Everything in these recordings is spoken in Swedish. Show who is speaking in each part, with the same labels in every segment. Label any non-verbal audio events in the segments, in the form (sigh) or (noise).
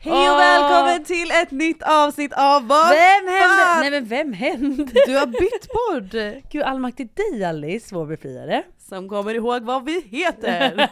Speaker 1: Hej och
Speaker 2: Åh.
Speaker 1: välkommen till ett nytt avsnitt av Vad
Speaker 2: Vem hände?
Speaker 1: fan?
Speaker 2: Nej men vem hände?
Speaker 1: Du har bytt podd!
Speaker 2: (laughs) Gud allmaktig dig Alice, vår befriare.
Speaker 1: (laughs) Som kommer ihåg vad vi
Speaker 2: (laughs)
Speaker 1: heter!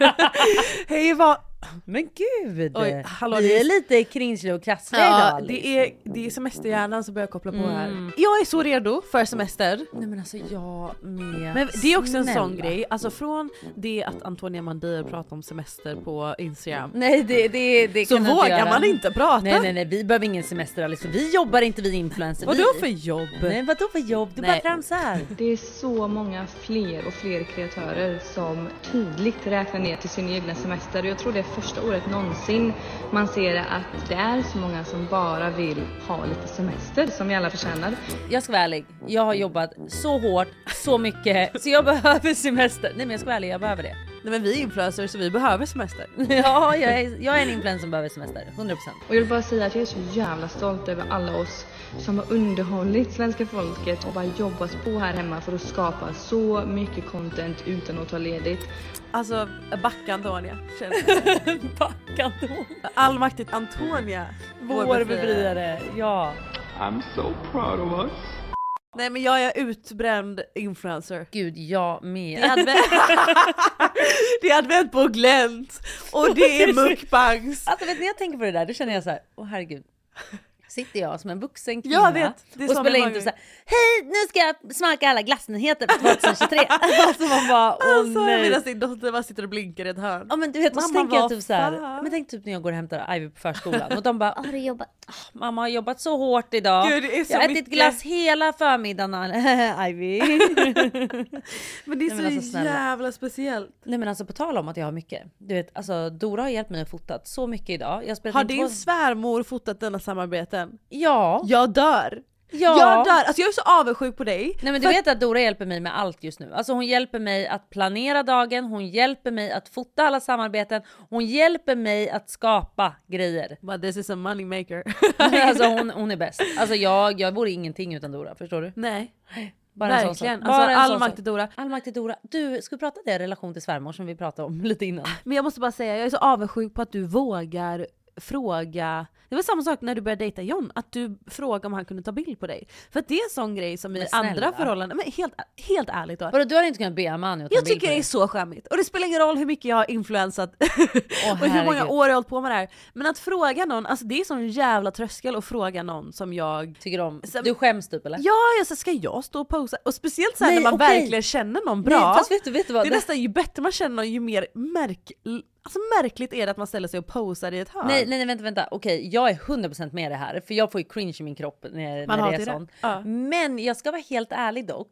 Speaker 1: Hej vad...
Speaker 2: Men gud!
Speaker 1: Oj, hallå,
Speaker 2: vi
Speaker 1: det är-
Speaker 2: är lite kringsliga och krassliga idag
Speaker 1: Ja,
Speaker 2: Alice.
Speaker 1: det är, det är semesterhjärnan som börjar koppla på här.
Speaker 2: Mm.
Speaker 1: Jag är så redo för semester.
Speaker 2: Nej men alltså jag med.
Speaker 1: Men det är också en
Speaker 2: Snälla.
Speaker 1: sån grej, alltså från det att Antonia Mandir pratar om semester på Instagram
Speaker 2: Nej det, det, Mm, det
Speaker 1: så
Speaker 2: kan jag
Speaker 1: vågar
Speaker 2: göra.
Speaker 1: man inte prata.
Speaker 2: Nej nej nej vi behöver ingen semester Alice för vi jobbar inte vi influencers.
Speaker 1: Vadå
Speaker 2: vi...
Speaker 1: för jobb?
Speaker 2: Nej vadå för jobb? Du
Speaker 1: Nej.
Speaker 2: bara tramsar.
Speaker 3: Det är så många fler och fler kreatörer som tydligt räknar ner till sin egna semester och jag tror det är första året någonsin man ser att det är så många som bara vill ha lite semester som vi alla förtjänar.
Speaker 2: Jag ska vara ärlig, jag har jobbat så hårt, så mycket, så jag (laughs) behöver semester. Nej men jag ska vara ärlig, jag behöver det. (laughs)
Speaker 1: Nej men vi är influencers så vi behöver semester.
Speaker 2: Ja, jag är, jag är en influencer som behöver semester, 100%.
Speaker 3: Och jag vill bara säga att jag är så jävla stolt över alla oss som har underhållit svenska folket och bara jobbat på här hemma för att skapa så mycket content utan att ta ledigt.
Speaker 1: Alltså backa Antonia. känner jag.
Speaker 2: Backa då.
Speaker 1: Allmaktigt Antonia.
Speaker 2: Vår befriare, ja.
Speaker 4: I'm so proud of us.
Speaker 1: Nej men jag är utbränd influencer. (laughs)
Speaker 2: Gud, jag
Speaker 1: Det är
Speaker 2: med.
Speaker 1: advent, det är advent på glänt och det (laughs) är mukbangs.
Speaker 2: Alltså vet ni, jag tänker på det där, då känner jag så här, åh herregud. Sitter jag som en vuxen kvinna
Speaker 1: Jag vet, det är
Speaker 2: och
Speaker 1: så
Speaker 2: spelar
Speaker 1: många
Speaker 2: in typ så
Speaker 1: gånger.
Speaker 2: här, hej nu ska jag smaka alla glassnyheter på 2023. alltså man bara, åh
Speaker 1: (laughs) Alltså
Speaker 2: nej.
Speaker 1: medan din dotter bara sitter och blinkar i ett hörn.
Speaker 2: Ja men du vet, och så
Speaker 1: Mamma,
Speaker 2: tänker jag
Speaker 1: vad
Speaker 2: typ så här,
Speaker 1: fan?
Speaker 2: men tänk typ när jag går och hämtar Ivy på förskolan och de bara, har du jobbat? Ah, Mamma har jobbat så hårt idag.
Speaker 1: Gud, det är så
Speaker 2: jag har ätit
Speaker 1: mycket.
Speaker 2: glass hela förmiddagen (laughs) Ivy.
Speaker 1: Men det är
Speaker 2: Nej, men
Speaker 1: så
Speaker 2: alltså, snälla.
Speaker 1: jävla speciellt.
Speaker 2: Nej men alltså på tal om att jag har mycket. Du vet alltså Dora har hjälpt mig att fota så mycket idag. Jag har spelat
Speaker 1: Har
Speaker 2: in
Speaker 1: din
Speaker 2: två...
Speaker 1: svärmor fotat denna samarbeten?
Speaker 2: Ja.
Speaker 1: Jag dör!
Speaker 2: Ja.
Speaker 1: Jag dör! Alltså jag är så avundsjuk på dig.
Speaker 2: Nej men du vet att Dora hjälper mig med allt just nu. Alltså hon hjälper mig att planera dagen, hon hjälper mig att fota alla samarbeten, hon hjälper mig att skapa
Speaker 1: (laughs)
Speaker 2: grejer.
Speaker 1: But this is a money maker.
Speaker 2: alltså hon, hon är bäst. Alltså jag, jag vore ingenting utan Dora, förstår du?
Speaker 1: Nej,
Speaker 2: Bara en sån
Speaker 1: verkligen.
Speaker 2: sak.
Speaker 1: Alltså,
Speaker 2: Bara en
Speaker 1: all
Speaker 2: sån
Speaker 1: makt
Speaker 2: sak.
Speaker 1: till Dora.
Speaker 2: Allmaktig Dora. Du, ska vi prata det i relation till svärmor som vi pratade om (laughs) lite innan?
Speaker 1: Men jag måste bara säga, jag är så avundsjuk på att du vågar fråga. Det var samma sak när du började dejta John, att du frågade om han kunde ta bild på dig. För att det är en sån grej som i
Speaker 2: Men snälla.
Speaker 1: andra förhållanden, men helt, helt ärligt då.
Speaker 2: Vadå, du hade inte kunnat be Amani att ta
Speaker 1: Jag
Speaker 2: en bild
Speaker 1: tycker
Speaker 2: på
Speaker 1: det är
Speaker 2: dig.
Speaker 1: så skämmigt. Och det spelar ingen roll hur mycket jag har influensat (laughs) och hur många
Speaker 2: herregud.
Speaker 1: år jag har hållit på med det här. Men att fråga någon, alltså det är sån jävla tröskel att fråga någon som jag
Speaker 2: Tycker om.
Speaker 1: Sen-
Speaker 2: Du skäms typ eller?
Speaker 1: Ja, jag sa, ska jag stå och posa? Och speciellt så här
Speaker 2: Nej,
Speaker 1: när man
Speaker 2: okej.
Speaker 1: verkligen känner någon bra.
Speaker 2: Nej, fast vet du, vet du vad?
Speaker 1: Det är nästan ju bättre man känner någon ju mer märk... alltså, märkligt är det att man ställer sig och posar i ett hörn.
Speaker 2: Nej, nej, nej vänta, vänta. Okej, jag är 100% med det här för jag får ju cringe i min kropp när,
Speaker 1: Man
Speaker 2: när det
Speaker 1: hatar
Speaker 2: är
Speaker 1: det.
Speaker 2: sånt.
Speaker 1: Ja.
Speaker 2: Men jag ska vara helt ärlig dock.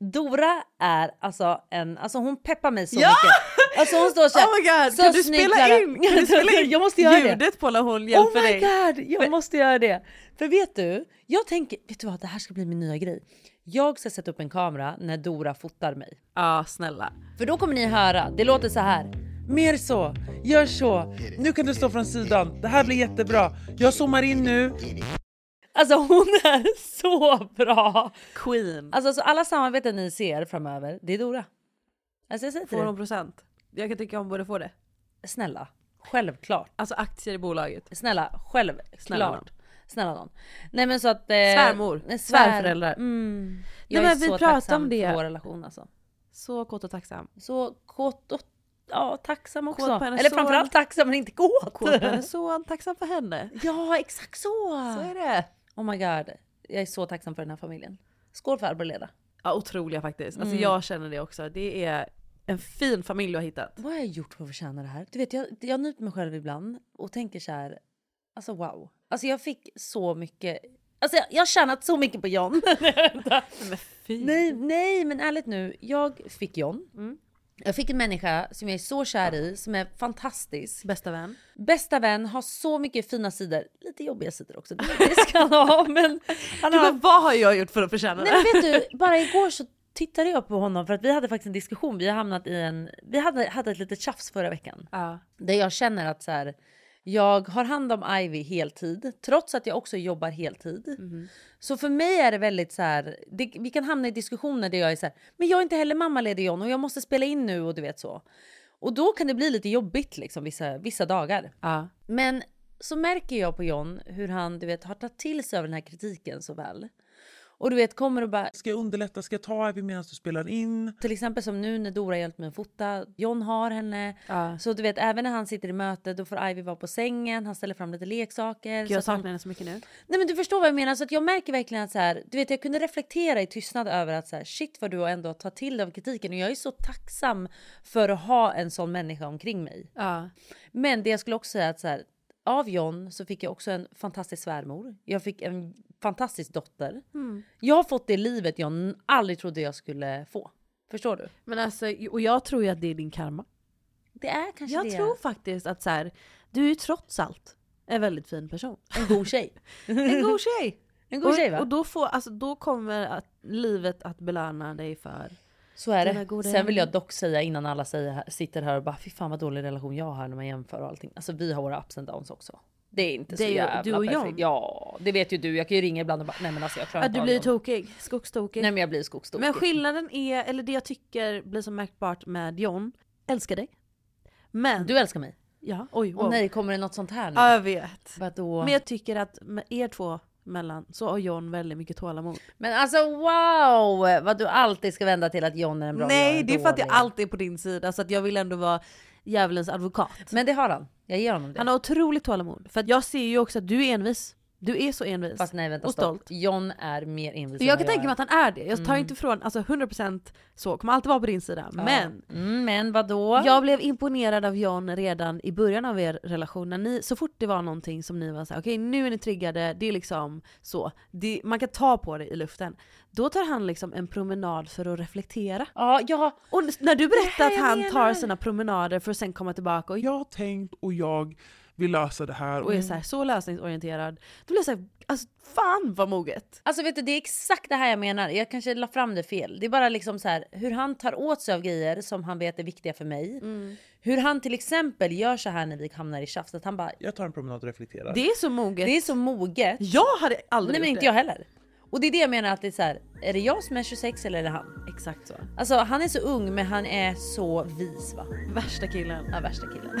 Speaker 2: Dora är alltså en, alltså hon peppar mig så
Speaker 1: Ja!
Speaker 2: mycket. Alltså hon står såhär.
Speaker 1: Oh my god,
Speaker 2: så
Speaker 1: kan du
Speaker 2: snygg,
Speaker 1: spela
Speaker 2: Clara.
Speaker 1: in, kan
Speaker 2: (laughs)
Speaker 1: du spela in
Speaker 2: jag måste göra
Speaker 1: ljudet
Speaker 2: det.
Speaker 1: på när hon
Speaker 2: Oh
Speaker 1: hjälper dig?
Speaker 2: my god, jag måste göra det. För vet du, jag tänker, vet du vad, det här ska bli min nya grej. Jag ska sätta upp en kamera när Dora fotar mig.
Speaker 1: Ja snälla.
Speaker 2: För då kommer ni höra, det låter så här.
Speaker 5: Mer så, gör så. Nu kan du stå från sidan. Det här blir jättebra. Jag zoomar in nu.
Speaker 2: Alltså hon är så bra!
Speaker 1: Queen.
Speaker 2: Alltså så alla samarbeten ni ser framöver, det är Dora. Alltså jag säger till
Speaker 1: Får hon
Speaker 2: dig,
Speaker 1: procent? Jag kan tycka hon borde få det.
Speaker 2: snälla, självklart.
Speaker 1: Alltså aktier i bolaget.
Speaker 2: Snälla, självklart.
Speaker 1: Snälla nån.
Speaker 2: Snälla nån. Nej men så att... Eh,
Speaker 1: Svärmor,
Speaker 2: svär-
Speaker 1: svärföräldrar.
Speaker 2: Mm. Jag
Speaker 1: Nej,
Speaker 2: är
Speaker 1: men vi
Speaker 2: så
Speaker 1: pratar
Speaker 2: tacksam
Speaker 1: om det.
Speaker 2: för vår relation alltså.
Speaker 1: Så kåt och
Speaker 2: (laughs)
Speaker 1: tacksam.
Speaker 2: Så kåt och ja, tacksam också.
Speaker 1: Kåt på hennes
Speaker 2: Eller
Speaker 1: son.
Speaker 2: framförallt tacksam men inte kåt.
Speaker 1: Kåt på hennes son, tacksam för henne.
Speaker 2: Ja exakt så.
Speaker 1: Så är det.
Speaker 2: Oh my god. Jag är så tacksam för den här familjen. Skål för Arbor Leda.
Speaker 1: Ja, otroliga faktiskt. Alltså
Speaker 2: Mm.
Speaker 1: jag känner det också. Det är en fin familj du har hittat.
Speaker 2: Vad har jag gjort för att förtjäna det här? Du vet jag, jag nyper mig själv ibland och tänker så här. Alltså wow. Alltså jag fick så mycket. Alltså jag, jag har tjänat så mycket på (laughs) John.
Speaker 1: Men fy.
Speaker 2: Nej, nej, men ärligt nu. Jag fick John. Jag fick en människa som jag är så kär i, som är fantastisk.
Speaker 1: Bästa vän.
Speaker 2: Bästa vän, har så mycket fina sidor. Lite jobbiga sidor också, det det ska han ha. (laughs) Men han
Speaker 1: Du
Speaker 2: har...
Speaker 1: bara, vad har jag gjort för att förtjäna
Speaker 2: Nej
Speaker 1: det?
Speaker 2: men vet du, bara igår så tittade jag på honom för att vi hade faktiskt en diskussion. Vi har hamnat i en... Vi hade, hade ett litet tjafs förra veckan.
Speaker 1: Ja.
Speaker 2: Där jag känner att så här, jag har hand om Ivy heltid, trots att jag också jobbar heltid. Så för mig är det väldigt så här, det, vi kan hamna i diskussioner där jag är så här, men jag är inte heller mammaledig John och jag måste spela in nu och du vet så. Och då kan det bli lite jobbigt liksom vissa, vissa dagar.
Speaker 1: Ja.
Speaker 2: Men så märker jag på John hur han du vet, har tagit till sig av den här kritiken så väl. Och du vet kommer och bara,
Speaker 5: Ska jag underlätta? Ska jag ta Ivy medan du spelar in?
Speaker 2: till exempel som nu när Dora hjälpt mig att fota, John har henne.
Speaker 1: Ja.
Speaker 2: Så du vet även när han sitter i möte då får Ivy vara på sängen, han ställer fram lite leksaker. så
Speaker 1: Jag
Speaker 2: att han-
Speaker 1: saknar henne så mycket nu.
Speaker 2: Nej men du förstår vad jag menar. Så att jag märker verkligen att så här, du vet, jag kunde reflektera i tystnad över att så här, shit vad du ändå tar till dig av kritiken. Och jag är så tacksam för att ha en sån människa omkring mig.
Speaker 1: Ja.
Speaker 2: Men det jag skulle också säga är att så här, av John så fick jag också en fantastisk svärmor. Jag fick en fantastisk dotter.
Speaker 1: Mm.
Speaker 2: Jag har fått det livet jag n- aldrig trodde jag skulle få. Förstår du?
Speaker 1: Men alltså, och jag tror ju att det är din karma.
Speaker 2: Det är kanske
Speaker 1: Jag
Speaker 2: det.
Speaker 1: tror faktiskt att så här, du är ju trots allt en väldigt fin person.
Speaker 2: En god tjej.
Speaker 1: En god tjej!
Speaker 2: (laughs)
Speaker 1: (laughs)
Speaker 2: En god tjej
Speaker 1: och,
Speaker 2: va?
Speaker 1: och då, får, alltså, då kommer att, livet att belöna dig för...
Speaker 2: Så är
Speaker 1: Dina goda
Speaker 2: det. Sen vill jag dock säga innan alla säger, här- sitter här och bara fy fan vad dålig relation jag har när man jämför och allting. Alltså vi har våra ups and downs också. Det är inte
Speaker 1: Det är
Speaker 2: så
Speaker 1: ju
Speaker 2: jävla
Speaker 1: du och jag.
Speaker 2: perfekt. Ja, det vet ju du. Jag kan ju ringa ibland och bara nej men alltså jag klarar
Speaker 1: Att du
Speaker 2: av
Speaker 1: blir
Speaker 2: någon."
Speaker 1: tokig, skogstokig.
Speaker 2: Nej men jag blir skogstokig.
Speaker 1: Men skillnaden är, eller det jag tycker blir så märkbart med John, älskar dig. Men...
Speaker 2: Du älskar mig.
Speaker 1: ja, oj wow.
Speaker 2: Åh nej kommer det något sånt här nu?
Speaker 1: Ja, jag vet.
Speaker 2: Vadå?
Speaker 1: Men jag tycker att med er två mellan så har John väldigt mycket tålamod.
Speaker 2: Men alltså wow! Vad du alltid ska vända till att John är en bra jag
Speaker 1: Nej
Speaker 2: en
Speaker 1: det är för att jag
Speaker 2: dålig.
Speaker 1: alltid är på din sida så att jag vill ändå vara djävulens advokat.
Speaker 2: Men det har han. Jag ger honom det.
Speaker 1: Han har otroligt tålamod. För att jag ser ju också att du är envis. Du är så envis.
Speaker 2: Fast nej vänta
Speaker 1: och
Speaker 2: stopp.
Speaker 1: stolt.
Speaker 2: John är mer envis än
Speaker 1: Jag kan
Speaker 2: vad
Speaker 1: tänka mig
Speaker 2: är.
Speaker 1: att han är det.
Speaker 2: Mm.
Speaker 1: Jag tar inte ifrån, alltså 100% så, kommer alltid vara på din sida. Men
Speaker 2: Mm, men vadå?
Speaker 1: jag blev imponerad av John redan i början av er relation. När ni, så fort det var någonting som ni var såhär, okej nu är ni triggade, det är liksom så. Det, man kan ta på det i luften. Då tar han liksom en promenad för att reflektera.
Speaker 2: Ja, ja.
Speaker 1: Och när du berättar
Speaker 2: Det här
Speaker 1: att
Speaker 2: jag
Speaker 1: han tar
Speaker 2: menar.
Speaker 1: sina promenader för att sen komma tillbaka och,
Speaker 5: Jag har tänkt och jag vill lösa det här.
Speaker 1: och är så, här, så lösningsorienterad. Då blir jag såhär, alltså, fan vad moget!
Speaker 2: Alltså vet du, det är exakt det här jag menar. Jag kanske la fram det fel. Det är bara liksom så här hur han tar åt sig av grejer som han vet är viktiga för mig.
Speaker 1: Mm.
Speaker 2: Hur han till exempel gör så här när vi hamnar i tjafs. Att han bara,
Speaker 5: Jag tar en promenad och reflekterar.
Speaker 1: Det är så moget.
Speaker 2: det är så moget.
Speaker 1: Jag hade aldrig
Speaker 2: Nej men
Speaker 1: gjort
Speaker 2: inte
Speaker 1: det.
Speaker 2: jag heller. Och det är det jag menar att det är så här, är det jag som är 26 eller är det han?
Speaker 1: Exakt så.
Speaker 2: Alltså han är så ung men han är så vis va?
Speaker 1: Värsta killen.
Speaker 2: Ja, värsta killen.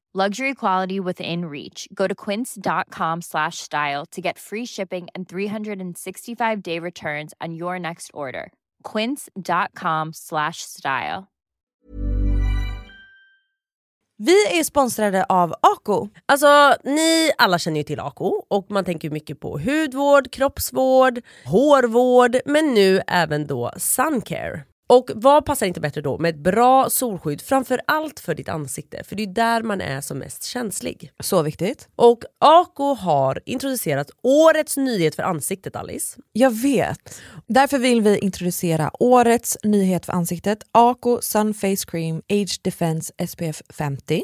Speaker 6: Luxury quality within reach. Go to quince.com slash style to get free shipping and 365 day returns on your next order. Quince.com slash style.
Speaker 7: Vi är sponsrade av Ako. Alltså ni alla känner ju till Ako och man tänker ju mycket på hudvård, kroppsvård, hårvård men nu även då suncare. Och vad passar inte bättre då med ett bra solskydd framför allt för ditt ansikte för det är ju där man är som mest känslig. Så viktigt. Och Ako har introducerat årets nyhet för ansiktet Alice.
Speaker 8: Jag vet. Därför vill vi introducera årets nyhet för ansiktet, Ako Sun Face Cream Age Defense SPF 50.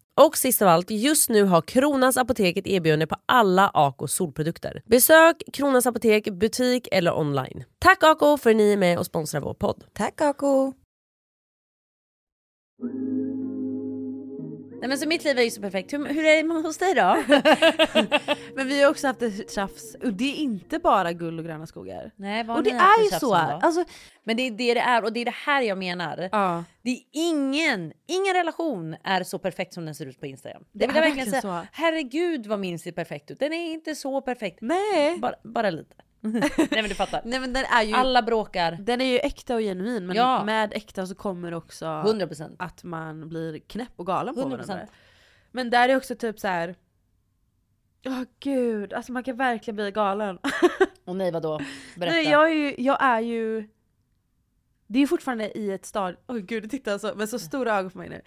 Speaker 7: Och sist av allt, just nu har Kronans Apotek ett erbjudande på alla Ako solprodukter. Besök Kronans Apotek, butik eller online. Tack Ako för att ni är med och sponsrar vår podd.
Speaker 8: Tack Ako!
Speaker 2: Nej, men så mitt liv är ju så perfekt. Hur, hur är det hos dig
Speaker 1: (laughs)
Speaker 2: då?
Speaker 1: Men vi har också haft ett tjafs, och det är inte bara guld och gröna skogar.
Speaker 2: Nej, vad
Speaker 1: och
Speaker 2: har
Speaker 1: det
Speaker 2: ni haft
Speaker 1: är ju
Speaker 2: för
Speaker 1: så.
Speaker 2: tjafs om då?
Speaker 1: Alltså,
Speaker 2: Men det är det det är och det är det här jag menar.
Speaker 1: Ja.
Speaker 2: Det är ingen, ingen relation är så perfekt som den ser ut på Instagram. Det,
Speaker 1: Det
Speaker 2: vill
Speaker 1: är
Speaker 2: jag verkligen säga.
Speaker 1: verkligen så.
Speaker 2: Herregud vad min ser perfekt ut. Den är inte så perfekt.
Speaker 1: Nej.
Speaker 2: Bara, bara lite. Nej men du fattar.
Speaker 1: (laughs) Nej men den är ju,
Speaker 2: Alla bråkar.
Speaker 1: den är ju äkta och genuin men
Speaker 2: Ja.
Speaker 1: med äkta så kommer också
Speaker 2: 100%.
Speaker 1: att man blir knäpp och galen på
Speaker 2: 100%.
Speaker 1: varandra. Men där är också typ så här. Åh gud, alltså man kan verkligen bli galen. (laughs)
Speaker 2: Och nej vadå? Berätta.
Speaker 1: Nej, jag är ju, jag är ju det är ju fortfarande i ett stad... Åh gud, titta alltså, med så stora ögon på mig
Speaker 2: (laughs)
Speaker 1: nu.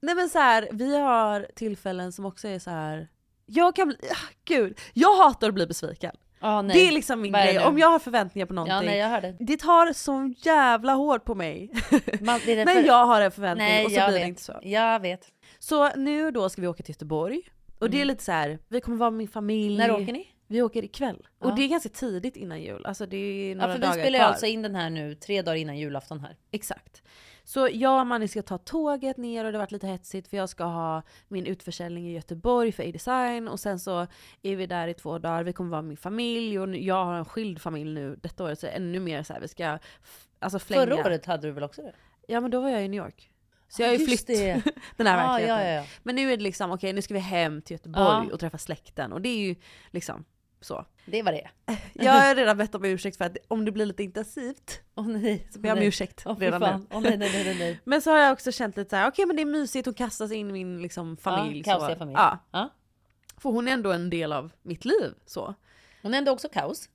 Speaker 1: Nej men så här, vi har tillfällen som också är så här. jag kan bli... Ah, gud, jag hatar att bli besviken.
Speaker 2: Ja, nej.
Speaker 1: Det är liksom min
Speaker 2: Vad är
Speaker 1: grej,
Speaker 2: det?
Speaker 1: om jag har förväntningar på någonting.
Speaker 2: Ja nej jag hörde.
Speaker 1: Det tar så jävla hårt på mig
Speaker 2: Man, det
Speaker 1: (laughs)
Speaker 2: är
Speaker 1: när
Speaker 2: därför-
Speaker 1: jag har en förväntning
Speaker 2: nej,
Speaker 1: och så
Speaker 2: jag
Speaker 1: blir
Speaker 2: vet.
Speaker 1: det inte så.
Speaker 2: Jag vet.
Speaker 1: Så nu då ska vi åka till Göteborg. Och det är
Speaker 2: Mm.
Speaker 1: lite så här, vi kommer vara med min familj.
Speaker 2: När åker ni?
Speaker 1: Vi åker ikväll.
Speaker 2: Ja.
Speaker 1: Och det är ganska tidigt innan jul. Alltså det är
Speaker 2: Ja,
Speaker 1: några
Speaker 2: för vi
Speaker 1: dagar
Speaker 2: spelar ju
Speaker 1: kvar.
Speaker 2: alltså in den här nu tre dagar innan julafton här.
Speaker 1: Exakt. Så jag och Manny ska ta tåget ner och det har varit lite hetsigt för jag ska ha min utförsäljning i Göteborg för A-design och sen så är vi där i två dagar. Vi kommer vara med min familj och nu- jag har en skild familj nu detta året så ännu mer så här, vi ska f- alltså flänga.
Speaker 2: Förra året hade du väl också det?
Speaker 1: Ja men då var jag i New York. Så
Speaker 2: Ja,
Speaker 1: jag har ju
Speaker 2: just
Speaker 1: flytt
Speaker 2: det.
Speaker 1: (laughs) den här
Speaker 2: Ja,
Speaker 1: verkligheten.
Speaker 2: ja, ja, ja.
Speaker 1: Men nu är det liksom okej nu ska vi hem till Göteborg
Speaker 2: Ja.
Speaker 1: och träffa släkten och det är ju liksom så.
Speaker 2: Det var det
Speaker 1: Jag har redan bett om ursäkt för att om det blir lite intensivt
Speaker 2: Åh nej.
Speaker 1: så ber jag om
Speaker 2: nej.
Speaker 1: ursäkt
Speaker 2: Åh, fy
Speaker 1: redan nu.
Speaker 2: fan. Åh, nej, nej, nej, nej, nej.
Speaker 1: Men så har jag också känt lite så här: okej men det är mysigt, hon kastas in i min liksom, (laughs) familj.
Speaker 2: Ja,
Speaker 1: så.
Speaker 2: kaosiga familj.
Speaker 1: Ja,
Speaker 2: Ja.
Speaker 1: för hon är ändå en del av mitt liv. Så.
Speaker 2: Hon är ändå också kaos.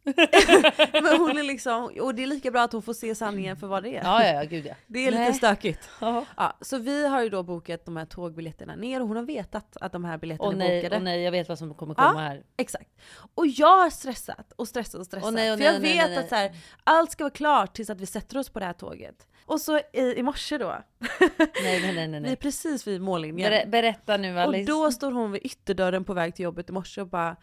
Speaker 1: Men hon är liksom, och det är lika bra att hon får se sanningen för vad det är.
Speaker 2: Ja, ja, ja gud ja.
Speaker 1: Det är lite
Speaker 2: Nej.
Speaker 1: stökigt.
Speaker 2: Ja.
Speaker 1: (laughs) Ja, så vi har ju då bokat de här tågbiljetterna ner och hon har vetat att de här biljetterna
Speaker 2: Åh
Speaker 1: är
Speaker 2: nej,
Speaker 1: bokade.
Speaker 2: åh nej, jag vet vad som kommer
Speaker 1: Ja.
Speaker 2: komma här.
Speaker 1: Exakt. Och jag har stressat och stressat och stressat.
Speaker 2: Åh nej, åh
Speaker 1: för
Speaker 2: nej,
Speaker 1: jag
Speaker 2: åh nej,
Speaker 1: vet
Speaker 2: nej, nej.
Speaker 1: att så här, allt ska vara klart tills att vi sätter oss på det här tåget. Och så i, i morse då,
Speaker 2: (laughs) Nej, nej, nej, nej.
Speaker 1: vi är
Speaker 2: nej.
Speaker 1: precis vid mållinjen.
Speaker 2: Ber- berätta nu
Speaker 1: Och
Speaker 2: Alice.
Speaker 1: då står hon vid ytterdörren på väg till jobbet i morse och bara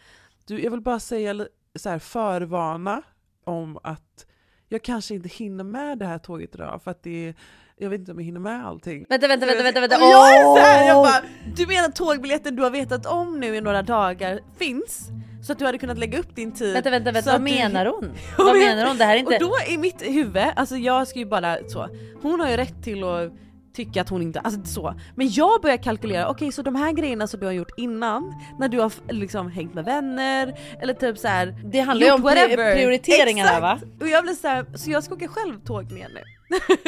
Speaker 5: Du, jag vill bara säga li- så här, förvarna om att jag kanske inte hinner med det här tåget idag för att det är, jag vet inte om jag hinner med allting.
Speaker 2: Vänta, vänta, vänta, vänta, vänta.
Speaker 1: Och jag är så här, jag
Speaker 2: Åh!
Speaker 1: bara, du menar tågbiljetten du har vetat om nu i några dagar finns? Så att du hade kunnat lägga upp din tid?
Speaker 2: Vänta, vänta,
Speaker 1: så
Speaker 2: vänta.
Speaker 1: att
Speaker 2: Vad
Speaker 1: du- (laughs)
Speaker 2: menar hon? Vad menar hon? Det här är inte...
Speaker 1: Och då i mitt huvud, alltså jag ska ju bara så, hon har ju rätt till att tycka att hon inte, alltså så. Men jag börjar kalkylera, okej så de här grejerna som du har gjort innan, när du har f- liksom hängt med vänner eller typ så här.
Speaker 2: Det handlar ju
Speaker 1: gjort
Speaker 2: om pri-
Speaker 1: whatever.
Speaker 2: prioriteringar här, va?
Speaker 1: Exakt! Och jag blir så här, så jag ska åka själv tåg ner nu. (laughs)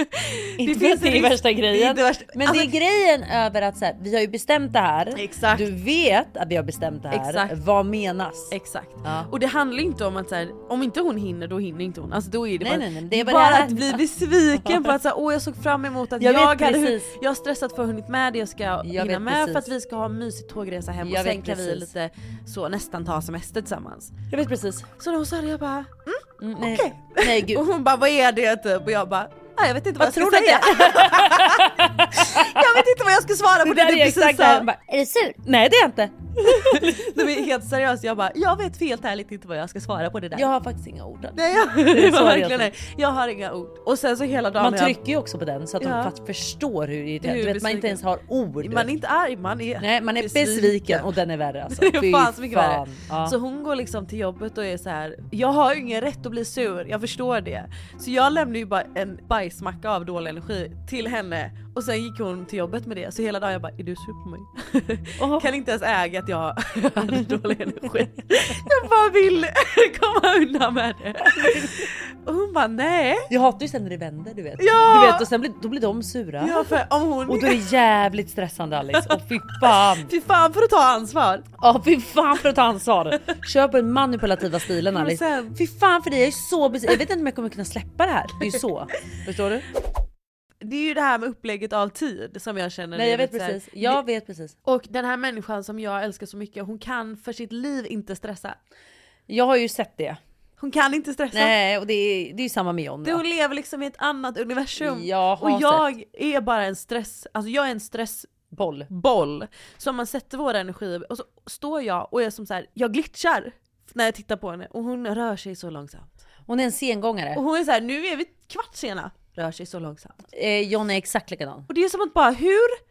Speaker 1: finns
Speaker 2: Inte för att det är
Speaker 1: risk-
Speaker 2: värsta
Speaker 1: Det är
Speaker 2: grejen.
Speaker 1: inte värsta-
Speaker 2: Men
Speaker 1: alltså-
Speaker 2: det är grejen över att så här, vi har ju bestämt det här.
Speaker 1: Exakt.
Speaker 2: Du vet att vi har bestämt det här.
Speaker 1: Exakt.
Speaker 2: Vad menas?
Speaker 1: Exakt.
Speaker 2: Ja.
Speaker 1: Och det handlar inte om att så här, om inte hon hinner då hinner inte hon. Alltså då är det bara,
Speaker 2: Nej, nej, nej,
Speaker 1: det är bara,
Speaker 2: det här.
Speaker 1: att bli besviken på att så här, åh jag såg fram emot att
Speaker 2: Jag
Speaker 1: jag,
Speaker 2: vet
Speaker 1: hade hu-
Speaker 2: precis.
Speaker 1: jag har stressat för att hunnit med det jag ska hinna
Speaker 2: vet
Speaker 1: med
Speaker 2: precis.
Speaker 1: för att vi ska ha en mysig tågresa hem
Speaker 2: Jag
Speaker 1: och sen
Speaker 2: vet
Speaker 1: kan vi
Speaker 2: precis.
Speaker 1: lite så nästan ta semester tillsammans.
Speaker 2: Jag vet precis.
Speaker 1: Så när hon sa det jag bara
Speaker 2: Mm, nej.
Speaker 1: okej.
Speaker 2: Nej gud.
Speaker 1: Och hon bara (laughs) vad är det typ? Och jag bara "Nej, jag vet inte vad, jag
Speaker 2: tror
Speaker 1: ska
Speaker 2: du
Speaker 1: säga.
Speaker 2: att det
Speaker 1: (laughs) jag vet inte vad jag ska svara på det,
Speaker 2: där
Speaker 1: du
Speaker 2: är
Speaker 1: precis
Speaker 2: exakt det
Speaker 1: sa.
Speaker 2: här. Bara, Är du sur? Nej det är jag inte.
Speaker 1: De är helt seriöst, jag bara, jag vet helt ärligt inte vad jag ska svara på det där. (laughs)
Speaker 2: Jag har faktiskt inga ord.
Speaker 1: Nej, jag, (laughs)
Speaker 2: Det
Speaker 1: det
Speaker 2: är
Speaker 1: var
Speaker 2: så
Speaker 1: verkligen
Speaker 2: jag
Speaker 1: det. Jag har inga ord. Och sen så hela dagen...
Speaker 2: Man
Speaker 1: har jag-
Speaker 2: trycker ju också på den så att
Speaker 1: Ja.
Speaker 2: de fast förstår hur
Speaker 1: Hur
Speaker 2: irriterad, du vet man inte
Speaker 1: besviken.
Speaker 2: ens har ord.
Speaker 1: Man är inte arg, man är
Speaker 2: Nej man är besviken, och den är värre
Speaker 1: (laughs)
Speaker 2: alltså.
Speaker 1: Det är
Speaker 2: Fy
Speaker 1: fan så mycket värre.
Speaker 2: Ja.
Speaker 1: Så hon går liksom till jobbet och är så här. jag har ju ingen rätt att bli sur, jag förstår det. Så jag lämnade ju bara en bajsmacka av dålig energi till henne och sen gick hon till jobbet med det. Så hela dagen jag bara, är du sur på mig? (laughs) kan inte ens äga att jag (laughs) hade dålig energi. jag bara vill (laughs) komma undan med det. Och hon bara nej.
Speaker 2: Jag hatar ju sen när det vänder du vet.
Speaker 1: Ja!
Speaker 2: Du vet och sen blir, då blir de sura.
Speaker 1: Ja för om hon...
Speaker 2: Och då är det jävligt stressande Alice. Och fy fan.
Speaker 1: (laughs) Fy fan för att ta ansvar.
Speaker 2: Ja fy fan för att ta ansvar. Kör på den manipulativa stilen
Speaker 1: Men
Speaker 2: Alice.
Speaker 1: sen-
Speaker 2: Fy fan för dig, jag är så besviken. Jag vet inte om jag kommer kunna släppa det här. Det är
Speaker 1: (laughs)
Speaker 2: ju så. Förstår du?
Speaker 1: Det är ju det här med upplägget av tid som jag känner
Speaker 2: Nej
Speaker 1: är
Speaker 2: jag vet
Speaker 1: lite så här-
Speaker 2: precis. Jag vet precis.
Speaker 1: Och den här människan som jag älskar så mycket, hon kan för sitt liv inte stressa.
Speaker 2: Jag har ju sett det.
Speaker 1: Hon kan inte stressa.
Speaker 2: Nej och det är, det är ju samma med John.
Speaker 1: Det
Speaker 2: va?
Speaker 1: hon lever liksom i ett annat universum.
Speaker 2: Jag har
Speaker 1: och jag är bara en stress, alltså jag är en stressboll
Speaker 2: Boll.
Speaker 1: som man sätter vår energi i. och så står jag och är som så här, jag glitchar när jag tittar på henne och hon rör sig så långsamt.
Speaker 2: Hon är en sengångare.
Speaker 1: Och hon är så här, nu är vi kvart sena, rör sig så långsamt.
Speaker 2: Eh, John är exakt likadan.
Speaker 1: Och det är som att bara hur,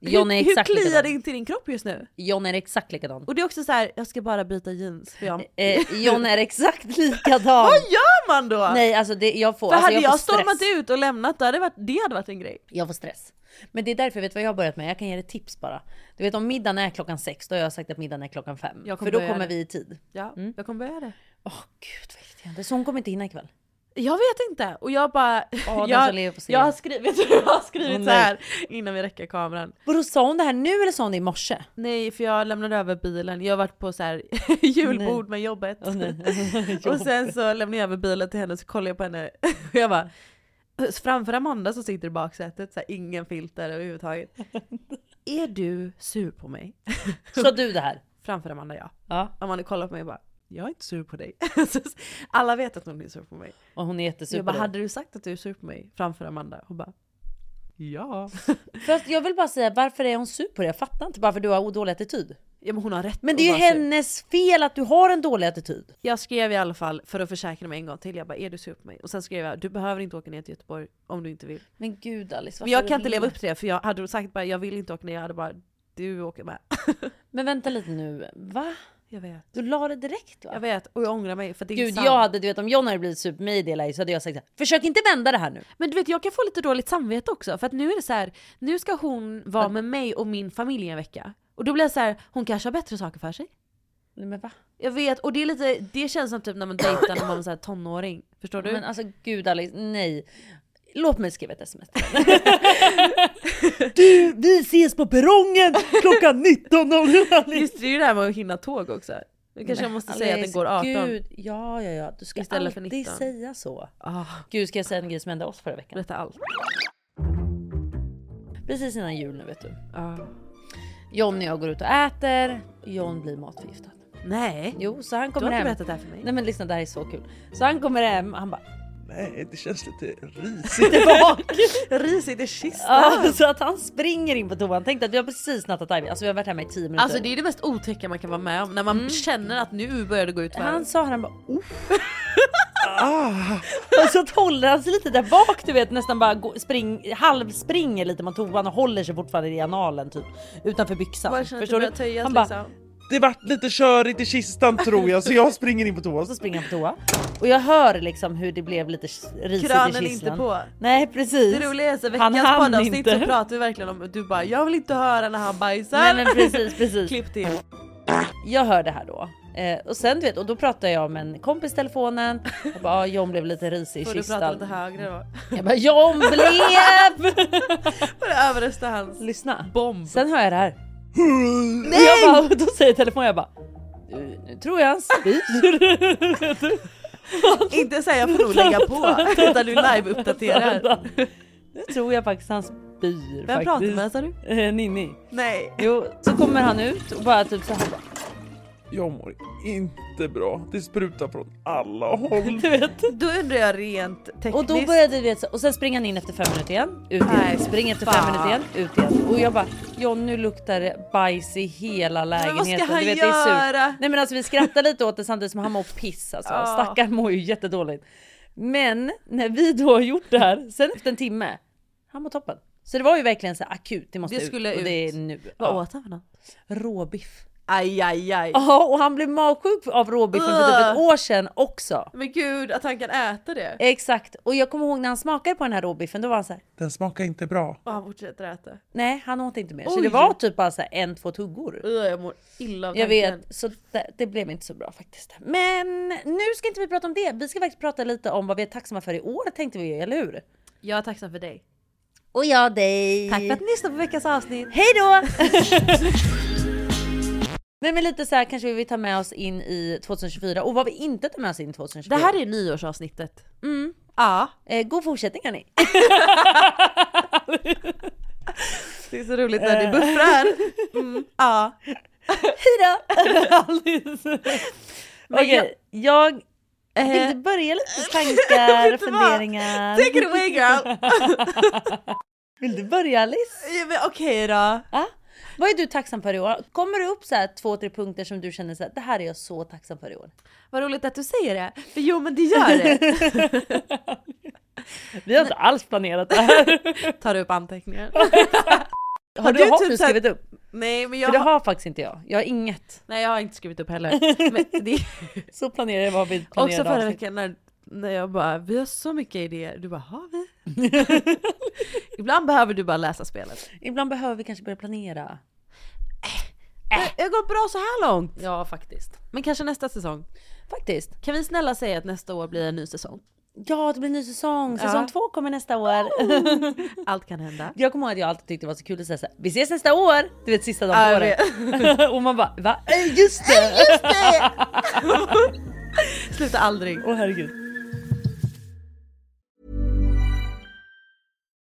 Speaker 2: John är
Speaker 1: hur, hur
Speaker 2: exakt
Speaker 1: kliar det
Speaker 2: likadan.
Speaker 1: inte i din kropp just nu?
Speaker 2: John är exakt likadan.
Speaker 1: Och det är också så här, jag ska bara byta jeans för jag...
Speaker 2: Eh, John är exakt likadan.
Speaker 1: Vad gör man då?
Speaker 2: Nej alltså det, jag får,
Speaker 1: För
Speaker 2: alltså,
Speaker 1: hade jag,
Speaker 2: jag får
Speaker 1: stormat
Speaker 2: stress.
Speaker 1: ut och lämnat, det hade varit, det hade varit en grej.
Speaker 2: Jag får stress. Men det är därför, vet du vad jag har börjat med? Jag kan ge dig ett tips bara. Du vet om middagen är klockan sex, då har jag sagt att middagen är klockan fem.
Speaker 1: Jag kommer
Speaker 2: För då
Speaker 1: börja
Speaker 2: kommer
Speaker 1: det.
Speaker 2: vi i tid.
Speaker 1: Ja, jag kommer börja det.
Speaker 2: Åh gud vad irriterande. Så hon kommer inte hinna ikväll.
Speaker 1: Jag vet inte, och jag bara... (laughs)
Speaker 2: den som lever
Speaker 1: jag,
Speaker 2: på scenen.
Speaker 1: jag har skrivit, (laughs) jag har skrivit
Speaker 2: Åh,
Speaker 1: så här innan vi räcker kameran.
Speaker 2: Vadå sa hon det här nu eller sa hon det i morse?
Speaker 1: Nej, för jag lämnade över bilen, jag har varit på så här (laughs) julbord med jobbet.
Speaker 2: (laughs)
Speaker 1: och sen så lämnade jag över bilen till henne, så kollade jag på henne (laughs) och jag bara... Framför Amanda som sitter i baksätet, så här, ingen filter
Speaker 2: (laughs)
Speaker 1: överhuvudtaget. Är du sur på mig?
Speaker 2: Sa du det här?
Speaker 1: Framför Amanda ja.
Speaker 2: Ja.
Speaker 1: Amanda kollar på mig och bara jag är inte sur på dig. (laughs) Så Alla vet att hon är sur på mig.
Speaker 2: Och hon är jättesur
Speaker 1: jag bara,
Speaker 2: på dig.
Speaker 1: hade du sagt att du är sur på mig framför Amanda? Hon bara, (laughs)
Speaker 5: Ja.
Speaker 2: För att jag vill bara säga varför är hon sur på dig? Jag fattar inte. Bara för du har dålig attityd.
Speaker 1: ja men hon har rätt
Speaker 2: Men
Speaker 1: att
Speaker 2: det är ju
Speaker 1: vara sur."
Speaker 2: hennes fel att du har en dålig attityd.
Speaker 1: Jag skrev i alla fall för att försäkra mig en gång till, jag bara är du sur på mig? Och sen skrev jag, du behöver inte åka ner till Göteborg om du inte vill.
Speaker 2: Men gud Alice.
Speaker 1: Men jag kan inte leva upp till det för jag hade du sagt bara jag vill inte åka ner, jag hade bara (laughs) du åker med.
Speaker 2: Men vänta lite nu. Va?
Speaker 1: Jag vet.
Speaker 2: Du la det direkt va?
Speaker 1: Jag vet och jag ångrar mig för det är
Speaker 2: Gud,
Speaker 1: sant.
Speaker 2: jag hade, du vet, om John hade blivit sur på mig i det läget så hade jag sagt så här, försök inte vända det här nu.
Speaker 1: Men du vet jag kan få lite dåligt samvete också för att nu är det så här, nu ska hon vara med mig och min familj en vecka. Och då blir jag så här, hon kanske har bättre saker för sig.
Speaker 2: Nej, men va?
Speaker 1: Jag vet, och det är lite, det känns som typ när man dejtar när man var så här tonåring. Förstår du?
Speaker 2: Men alltså gud Alice, nej. Låt mig skriva ett sms till
Speaker 1: (laughs)
Speaker 2: henne. Du, vi ses på perrongen klockan 19.00 Alice.
Speaker 1: Just det, är ju det här med att hinna tåg också. Nu kanske jag måste säga att den
Speaker 2: Alice,
Speaker 1: går 18.
Speaker 2: Gud, ja, ja, ja. Du ska
Speaker 1: Istället för
Speaker 2: alltid
Speaker 1: 19.
Speaker 2: säga så.
Speaker 1: Ah,
Speaker 2: Gud, ska jag säga en grej som hände oss förra veckan?
Speaker 1: berätta allt.
Speaker 2: Precis innan jul nu vet du.
Speaker 1: Ah.
Speaker 2: John och jag går ut och äter. John blir matförgiftad.
Speaker 1: Nej,
Speaker 2: Jo, så han
Speaker 1: du
Speaker 2: kommer
Speaker 1: har inte
Speaker 2: hem.
Speaker 1: berättat det här för mig.
Speaker 2: Nej men lyssna, det här är så kul. Så han kommer hem, han bara
Speaker 5: Nej, det känns
Speaker 2: (laughs)
Speaker 5: lite risigt.
Speaker 1: (laughs) Risigt i kistan.
Speaker 2: Ja, så att han springer in på toan. Tänkte att vi har precis nattat Ivy. Alltså vi har varit hemma i 10 minuter.
Speaker 1: Alltså det är det mest otäcka man kan vara med om, när man känner att nu börjar det gå ut för
Speaker 2: Han sa han bara oh.
Speaker 5: ah,
Speaker 2: Och så att håller han sig lite där bak du vet nästan bara gå, spring, halvspringer lite mot toan och håller sig fortfarande i analen typ utanför byxan.
Speaker 1: Bara känner att det
Speaker 2: Förstår
Speaker 1: börjar
Speaker 2: du?
Speaker 1: töjas
Speaker 2: Han
Speaker 1: han
Speaker 2: bara
Speaker 1: liksom.
Speaker 5: det vart lite körigt i kistan tror jag så jag springer in på
Speaker 2: och
Speaker 5: toa.
Speaker 2: så springer han på toa och jag hör liksom hur det blev lite risigt i
Speaker 1: Kranen är
Speaker 2: kistan.
Speaker 1: inte på.
Speaker 2: Nej precis.
Speaker 1: Det roliga är så
Speaker 2: Han
Speaker 1: veckans
Speaker 2: hann
Speaker 1: poddavsnitt så
Speaker 2: inte.
Speaker 1: pratar vi verkligen om, du bara jag vill inte höra när han bajsar.
Speaker 2: Nej men precis precis.
Speaker 1: Klipp till.
Speaker 2: jag hör det här då. Eh, och sen du vet, och då pratar jag med en kompis i telefonen. Jag bara, ah, John blev lite risig i
Speaker 1: Får du prata lite
Speaker 2: kistan.
Speaker 1: högre då?
Speaker 2: Jag bara, John blev!
Speaker 1: (laughs) Får du överrösta hans (laughs)
Speaker 2: Lyssna.
Speaker 1: bomb?
Speaker 2: Sen hör
Speaker 1: (laughs)
Speaker 2: jag det här. Nej! Jag bara, och då säger telefonen, jag bara, "Du, nu tror jag
Speaker 1: (laughs)
Speaker 2: han spyr.
Speaker 1: Inte säga jag får nog lägga på utan du (laughs) live-uppdaterar.
Speaker 2: nu tror jag faktiskt han spyr.
Speaker 1: Vem pratar
Speaker 2: faktiskt.
Speaker 1: med sa du?
Speaker 2: Eh, Ninni.
Speaker 1: Nej.
Speaker 2: Jo, så kommer han ut och bara typ så här. bara,
Speaker 5: Jag mår inte bra. Det sprutar från alla håll.
Speaker 1: Då undrar jag rent tekniskt.
Speaker 2: Och då började vi så, och sen springer han in efter fem minuter igen, ut igen, springer efter fem
Speaker 1: fan.
Speaker 2: minuter igen, ut igen. Och jag bara John nu luktar det bajs i hela lägenheten.
Speaker 1: han
Speaker 2: Du vet, det är surt.
Speaker 1: göra?
Speaker 2: Nej men alltså vi skrattar lite åt det samtidigt som han mår piss alltså.
Speaker 1: Ja.
Speaker 2: Stackaren mår ju jättedåligt. Men när vi då har gjort det här, sen efter en timme, han mår toppen. Så det var ju verkligen så här akut, det måste
Speaker 1: Det skulle
Speaker 2: ut. Och
Speaker 1: ut.
Speaker 2: det är nu.
Speaker 1: Vad
Speaker 2: Ja.
Speaker 1: åt han för något?
Speaker 2: Råbiff.
Speaker 1: Aj aj aj.
Speaker 2: Ja och han blev magsjuk av råbiffen för typ ett
Speaker 1: Ugh.
Speaker 2: år sedan också.
Speaker 1: Men gud att han kan äta det.
Speaker 2: Exakt, och jag kommer ihåg när han smakade på den här råbiffen, då var han så här.
Speaker 5: Den smakar inte bra.
Speaker 1: Och han fortsätter äta.
Speaker 2: Nej, han åt inte mer. Så
Speaker 1: Oj.
Speaker 2: det var typ bara så här en, två tuggor.
Speaker 1: Ugh, jag mår illa av
Speaker 2: Jag
Speaker 1: tanken.
Speaker 2: vet, så det, det blev inte så bra faktiskt. Men nu ska inte vi prata om det. Vi ska faktiskt prata lite om vad vi är tacksamma för i år tänkte vi, eller hur?
Speaker 1: Jag är tacksam för dig.
Speaker 2: Och jag dig.
Speaker 1: Tack för att ni lyssnade på veckans avsnitt.
Speaker 2: Hej då! (laughs) Nej men lite så här kanske vi vill ta med oss in i 2024 och vad vi inte tar med oss in i 2024.
Speaker 1: Det här är nyårsavsnittet.
Speaker 2: Mm.
Speaker 1: Ja.
Speaker 2: Eh, god fortsättning hörni!
Speaker 1: (laughs) Det är så roligt när ni buffrar.
Speaker 2: Eh. (laughs)
Speaker 1: Mm. Ja.
Speaker 2: Hejdå! Alice.
Speaker 1: Men
Speaker 2: Okej, jag
Speaker 1: Eh,
Speaker 2: tänkte
Speaker 1: (laughs)
Speaker 2: börja lite tankar,
Speaker 1: Vet du vad?
Speaker 2: funderingar.
Speaker 1: Take it away girl!
Speaker 2: Vill du börja Alice?
Speaker 1: (laughs) Ja, men Okej då.
Speaker 2: Ja. Vad är du tacksam för i år? Kommer det upp så här två, tre punkter som du känner så här, det här är jag så tacksam för i år?
Speaker 1: Vad roligt att du säger det. För jo men det gör det.
Speaker 2: (laughs) Vi har inte alls planerat det här.
Speaker 1: Tar upp (laughs) anteckningar.
Speaker 2: Har du,
Speaker 1: du
Speaker 2: har
Speaker 1: typ
Speaker 2: du
Speaker 1: så här-
Speaker 2: skrivit upp?
Speaker 1: Nej men
Speaker 2: För
Speaker 1: jag
Speaker 2: det
Speaker 1: har...
Speaker 2: har faktiskt inte jag. Jag har inget.
Speaker 1: Nej jag har inte skrivit upp (laughs) heller.
Speaker 2: (laughs)
Speaker 1: Men det...
Speaker 2: Så planerar jag vad vi planerade
Speaker 1: Också förra
Speaker 2: avsnitt.
Speaker 1: veckan när, när jag bara vi har så mycket idéer. Du bara har (laughs) vi? Ibland behöver du bara läsa spelet.
Speaker 2: Ibland behöver vi kanske börja planera.
Speaker 1: Det- Det har gått bra så här långt.
Speaker 2: Ja, faktiskt.
Speaker 1: Men kanske nästa säsong.
Speaker 2: Faktiskt.
Speaker 1: Kan vi snälla säga att nästa år blir en ny säsong?
Speaker 2: Ja, det blir en ny säsong. Säsong
Speaker 1: Ja.
Speaker 2: två kommer nästa år. (laughs)
Speaker 1: Allt kan hända.
Speaker 2: Jag kommer ihåg att jag alltid tyckte det var så kul att säga så här, vi ses nästa år! Du vet sista dagen
Speaker 1: Ja,
Speaker 2: på
Speaker 1: jag
Speaker 2: året. (laughs) och man bara va? Äh, (laughs) Just det!
Speaker 1: Sluta aldrig.
Speaker 2: Åh herregud.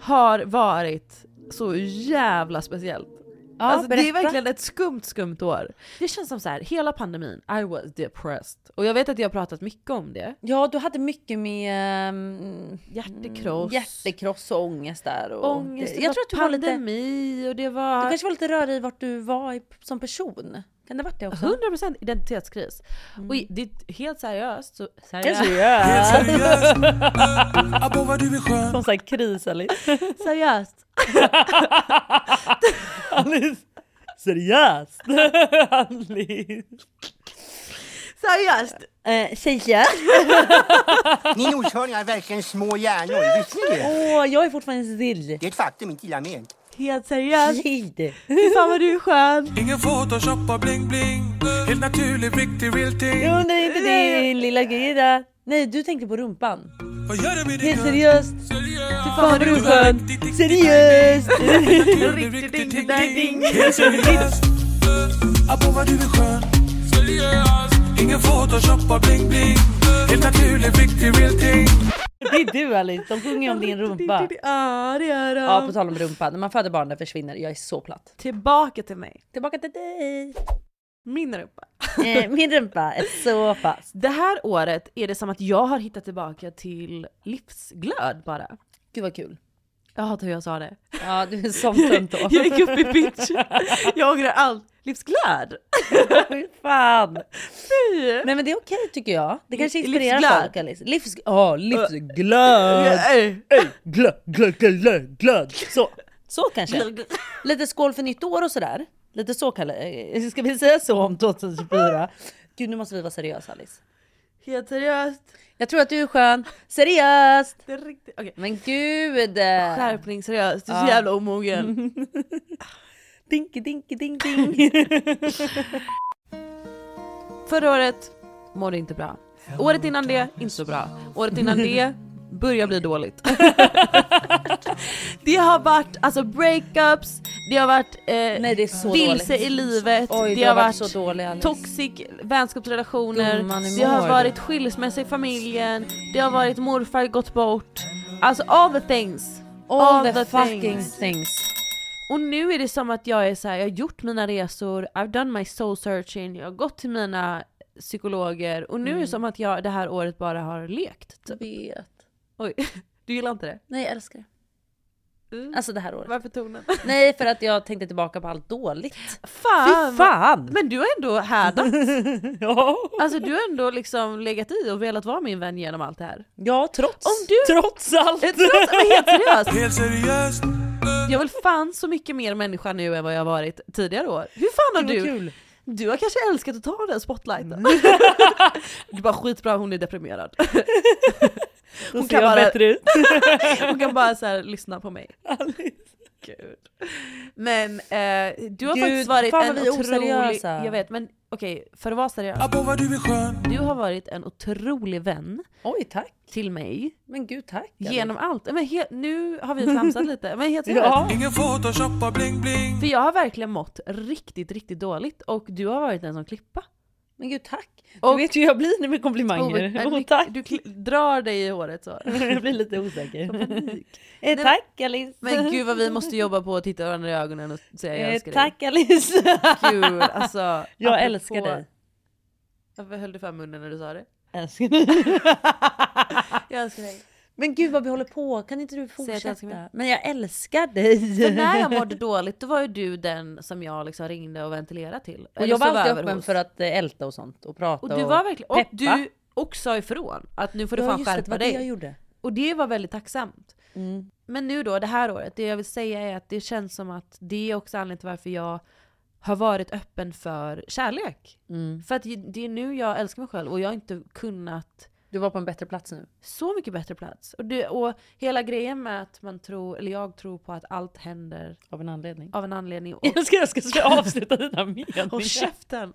Speaker 1: har varit så jävla speciellt.
Speaker 2: Ja,
Speaker 1: alltså, det är
Speaker 2: berätta.
Speaker 1: verkligen ett skumt, skumt år. Det känns som så här, hela pandemin, I was depressed. Och jag vet att jag har pratat mycket om det.
Speaker 2: Ja, du hade mycket med um,
Speaker 1: Hjärtekross.
Speaker 2: hjärtekross och ångest där. Och
Speaker 1: Ångest,
Speaker 2: jag tror att du var lite, du
Speaker 1: pandemi och det var...
Speaker 2: kanske var lite rörig i vart du var i, som person. Kan det ha varit det också?
Speaker 1: 100% identitetskris. Och i- det är helt seriöst så... Mm. Seriöst?
Speaker 2: Seriöst?
Speaker 5: Abba vad du är skön.
Speaker 2: Som sagt kris Alice.
Speaker 1: (laughs) seriöst.
Speaker 2: Alice. Seriöst? Alice.
Speaker 1: seriöst.
Speaker 2: Eh, seriöst?
Speaker 9: Ni nordsköningar är verkligen små hjärnor, visste ni det?
Speaker 2: Åh, jag är fortfarande sill.
Speaker 9: Det är ett faktum, inte illa ment.
Speaker 1: Helt seriöst. Fy fan vad du är (laughs) skön.
Speaker 10: Ingen photoshoppa bling bling. Helt naturlig, riktig, real thing.
Speaker 2: Jag undrar inte din lilla gira. Nej, du tänkte på rumpan.
Speaker 10: Vad gör du med din
Speaker 2: Helt seriöst. Fy fan vad du är skön.
Speaker 1: Seriöst.
Speaker 10: Riktigt, riktigt, riktigt. Helt seriöst. Abo vad du är skön. Seriöst. Ingen photoshoppa bling bling. Helt naturlig, riktig, real thing.
Speaker 2: Det är du Alice, de sjunger om din rumpa.
Speaker 1: Ja det gör de.
Speaker 2: Ja, på tal om rumpa. När man föder barn, den försvinner. Jag är så platt.
Speaker 1: Tillbaka till mig.
Speaker 2: Tillbaka till dig.
Speaker 1: Min rumpa.
Speaker 2: Eh, Min rumpa är så fast.
Speaker 1: Det här året är det som att jag har hittat tillbaka till livsglöd bara.
Speaker 2: Gud vad kul.
Speaker 1: Jag hatar hur jag sa (laughs) det.
Speaker 2: Ja, du är en sån tönt (laughs) då.
Speaker 1: Jag gick upp i pitch. Jag ångrar allt. Livsglöd!
Speaker 2: Fan!
Speaker 1: Nej.
Speaker 2: Nej men det är okej tycker jag. Det kanske
Speaker 1: Liv-
Speaker 2: inspirerar
Speaker 1: livsglöd.
Speaker 2: folk Alice. Livs... Ja, (laughs) livsglöd! Glöd, glöd, glöd, glöd, glöd! Så, så kanske. Lite skål för nytt år och sådär. Lite så Kalle. Eh, Ska vi säga så om 2024? Gud nu måste vi vara seriösa Alice.
Speaker 1: Helt seriöst.
Speaker 2: Jag tror att du är skön. Seriöst!
Speaker 1: Det är riktigt... Okej.
Speaker 2: Men gud!
Speaker 1: Eh. Skärpning seriöst, du är
Speaker 2: Ja.
Speaker 1: så jävla omogen.
Speaker 2: Dinky dinky ding ding.
Speaker 1: Förra året mådde inte bra. Året innan det, inte så bra. Året innan (laughs) det, börjar bli dåligt. (laughs) det har varit alltså breakups, det har varit eh,
Speaker 2: Nej det är så
Speaker 1: vilse
Speaker 2: dåligt.
Speaker 1: i livet,
Speaker 2: Oj,
Speaker 1: det har varit
Speaker 2: så dålig Alice.
Speaker 1: toxic vänskapsrelationer,
Speaker 2: Gumman, hur
Speaker 1: det har
Speaker 2: mår
Speaker 1: varit
Speaker 2: du?
Speaker 1: skilsmässa i familjen, det har varit morfar gått bort. Alltså all the things.
Speaker 2: All the fucking things.
Speaker 1: Och nu är det som att jag är så här, jag har gjort mina resor, I've done my soul searching, jag har gått till mina psykologer och nu är det som att jag det här året bara har lekt. typ.
Speaker 2: Jag vet.
Speaker 1: Oj, du gillar inte det?
Speaker 2: Nej jag älskar det.
Speaker 1: Mm.
Speaker 2: Alltså det här året.
Speaker 1: Varför tonen?
Speaker 2: Nej för att jag tänkte tillbaka på allt dåligt.
Speaker 1: Fan!
Speaker 2: Fy fan!
Speaker 1: Men du har ändå (laughs) härdat.
Speaker 2: (laughs) Ja,
Speaker 1: Alltså du har ändå liksom legat i och velat vara min vän genom allt det här.
Speaker 2: ja trots,
Speaker 1: Om du-
Speaker 2: trots allt.
Speaker 1: Eh, Trots, men
Speaker 2: (laughs)
Speaker 1: helt seriöst!
Speaker 10: Helt seriöst.
Speaker 1: Jag vill fan så mycket mer människa nu än vad jag har varit tidigare år. Hur fan har
Speaker 2: Gud, vad
Speaker 1: du?
Speaker 2: kul.
Speaker 1: Du har kanske älskat att ta den spotlighten. (laughs) du bara skitbra, hon är deprimerad.
Speaker 2: Då ser
Speaker 1: kan
Speaker 2: jag
Speaker 1: bara-
Speaker 2: bättre ut. (laughs)
Speaker 1: (laughs) Hon kan bara så här, lyssna på mig. Gud. Men eh, du har
Speaker 2: Gud,
Speaker 1: faktiskt varit
Speaker 2: fan
Speaker 1: en
Speaker 2: vad vi är
Speaker 1: otrolig...
Speaker 2: oseriösa.
Speaker 1: Jag vet, men okej, för att vara seriös.
Speaker 10: Abo vad du är skön.
Speaker 1: Du har varit en otrolig vän
Speaker 2: Oj tack.
Speaker 1: till mig
Speaker 2: Men gud tack.
Speaker 1: genom allt. Men he- nu har vi flamsat lite, men
Speaker 2: (laughs)
Speaker 1: helt seriöst.
Speaker 2: Ja.
Speaker 10: Ingen photoshoppa bling bling.
Speaker 1: För jag har verkligen mått riktigt, riktigt dåligt och du har varit en sån klippa.
Speaker 2: Men gud tack. Du
Speaker 1: Och-
Speaker 2: vet ju hur jag blir nu med komplimanger.
Speaker 1: men
Speaker 2: Oh,
Speaker 1: mycket-
Speaker 2: tack.
Speaker 1: Du kli- drar dig i håret så.
Speaker 2: (laughs) jag blir lite osäker.
Speaker 1: Nej,
Speaker 2: eh,
Speaker 1: men-
Speaker 2: tack Alice.
Speaker 1: Men gud vad vi måste jobba på att titta varandra i ögonen och säga jag
Speaker 2: eh,
Speaker 1: älskar
Speaker 2: tack Alice. (laughs)
Speaker 1: dig. Gud, alltså.
Speaker 2: jag
Speaker 1: apropå-
Speaker 2: älskar dig.
Speaker 1: Varför höll du för munnen när du sa det?
Speaker 2: Älskar dig.
Speaker 1: Jag älskar dig.
Speaker 2: (laughs) Men gud vad vi håller på. Kan inte du
Speaker 1: jag älskar
Speaker 2: fortsätta?
Speaker 1: mig.
Speaker 2: Men jag älskar dig.
Speaker 1: För när jag mådde dåligt då var ju du den som jag liksom ringde och ventilerade till.
Speaker 2: Och
Speaker 1: Eller
Speaker 2: jag var
Speaker 1: sov
Speaker 2: alltid
Speaker 1: över
Speaker 2: öppen
Speaker 1: hos.
Speaker 2: för att eh, älta och sånt och prata
Speaker 1: Och du var verkligen, och
Speaker 2: peppa.
Speaker 1: du och sa ifrån att nu får du
Speaker 2: Ja,
Speaker 1: fan
Speaker 2: just det, det
Speaker 1: skärpa
Speaker 2: var det jag
Speaker 1: dig.
Speaker 2: gjorde.
Speaker 1: Och det var väldigt tacksamt.
Speaker 2: Mm.
Speaker 1: Men nu då det här året, det jag vill säga är att det känns som att det är också anledningen till varför jag har varit öppen för kärlek.
Speaker 2: Mm.
Speaker 1: För att det är nu jag älskar mig själv och jag har inte kunnat
Speaker 2: Du var på en bättre plats nu.
Speaker 1: så mycket bättre plats. Och, det, och hela grejen med att man tror, eller jag tror på att allt händer
Speaker 2: Av en anledning.
Speaker 1: av en anledning. Och,
Speaker 2: (laughs) Jag ska, jag ska, ska avsluta dina meningar.
Speaker 1: och käften!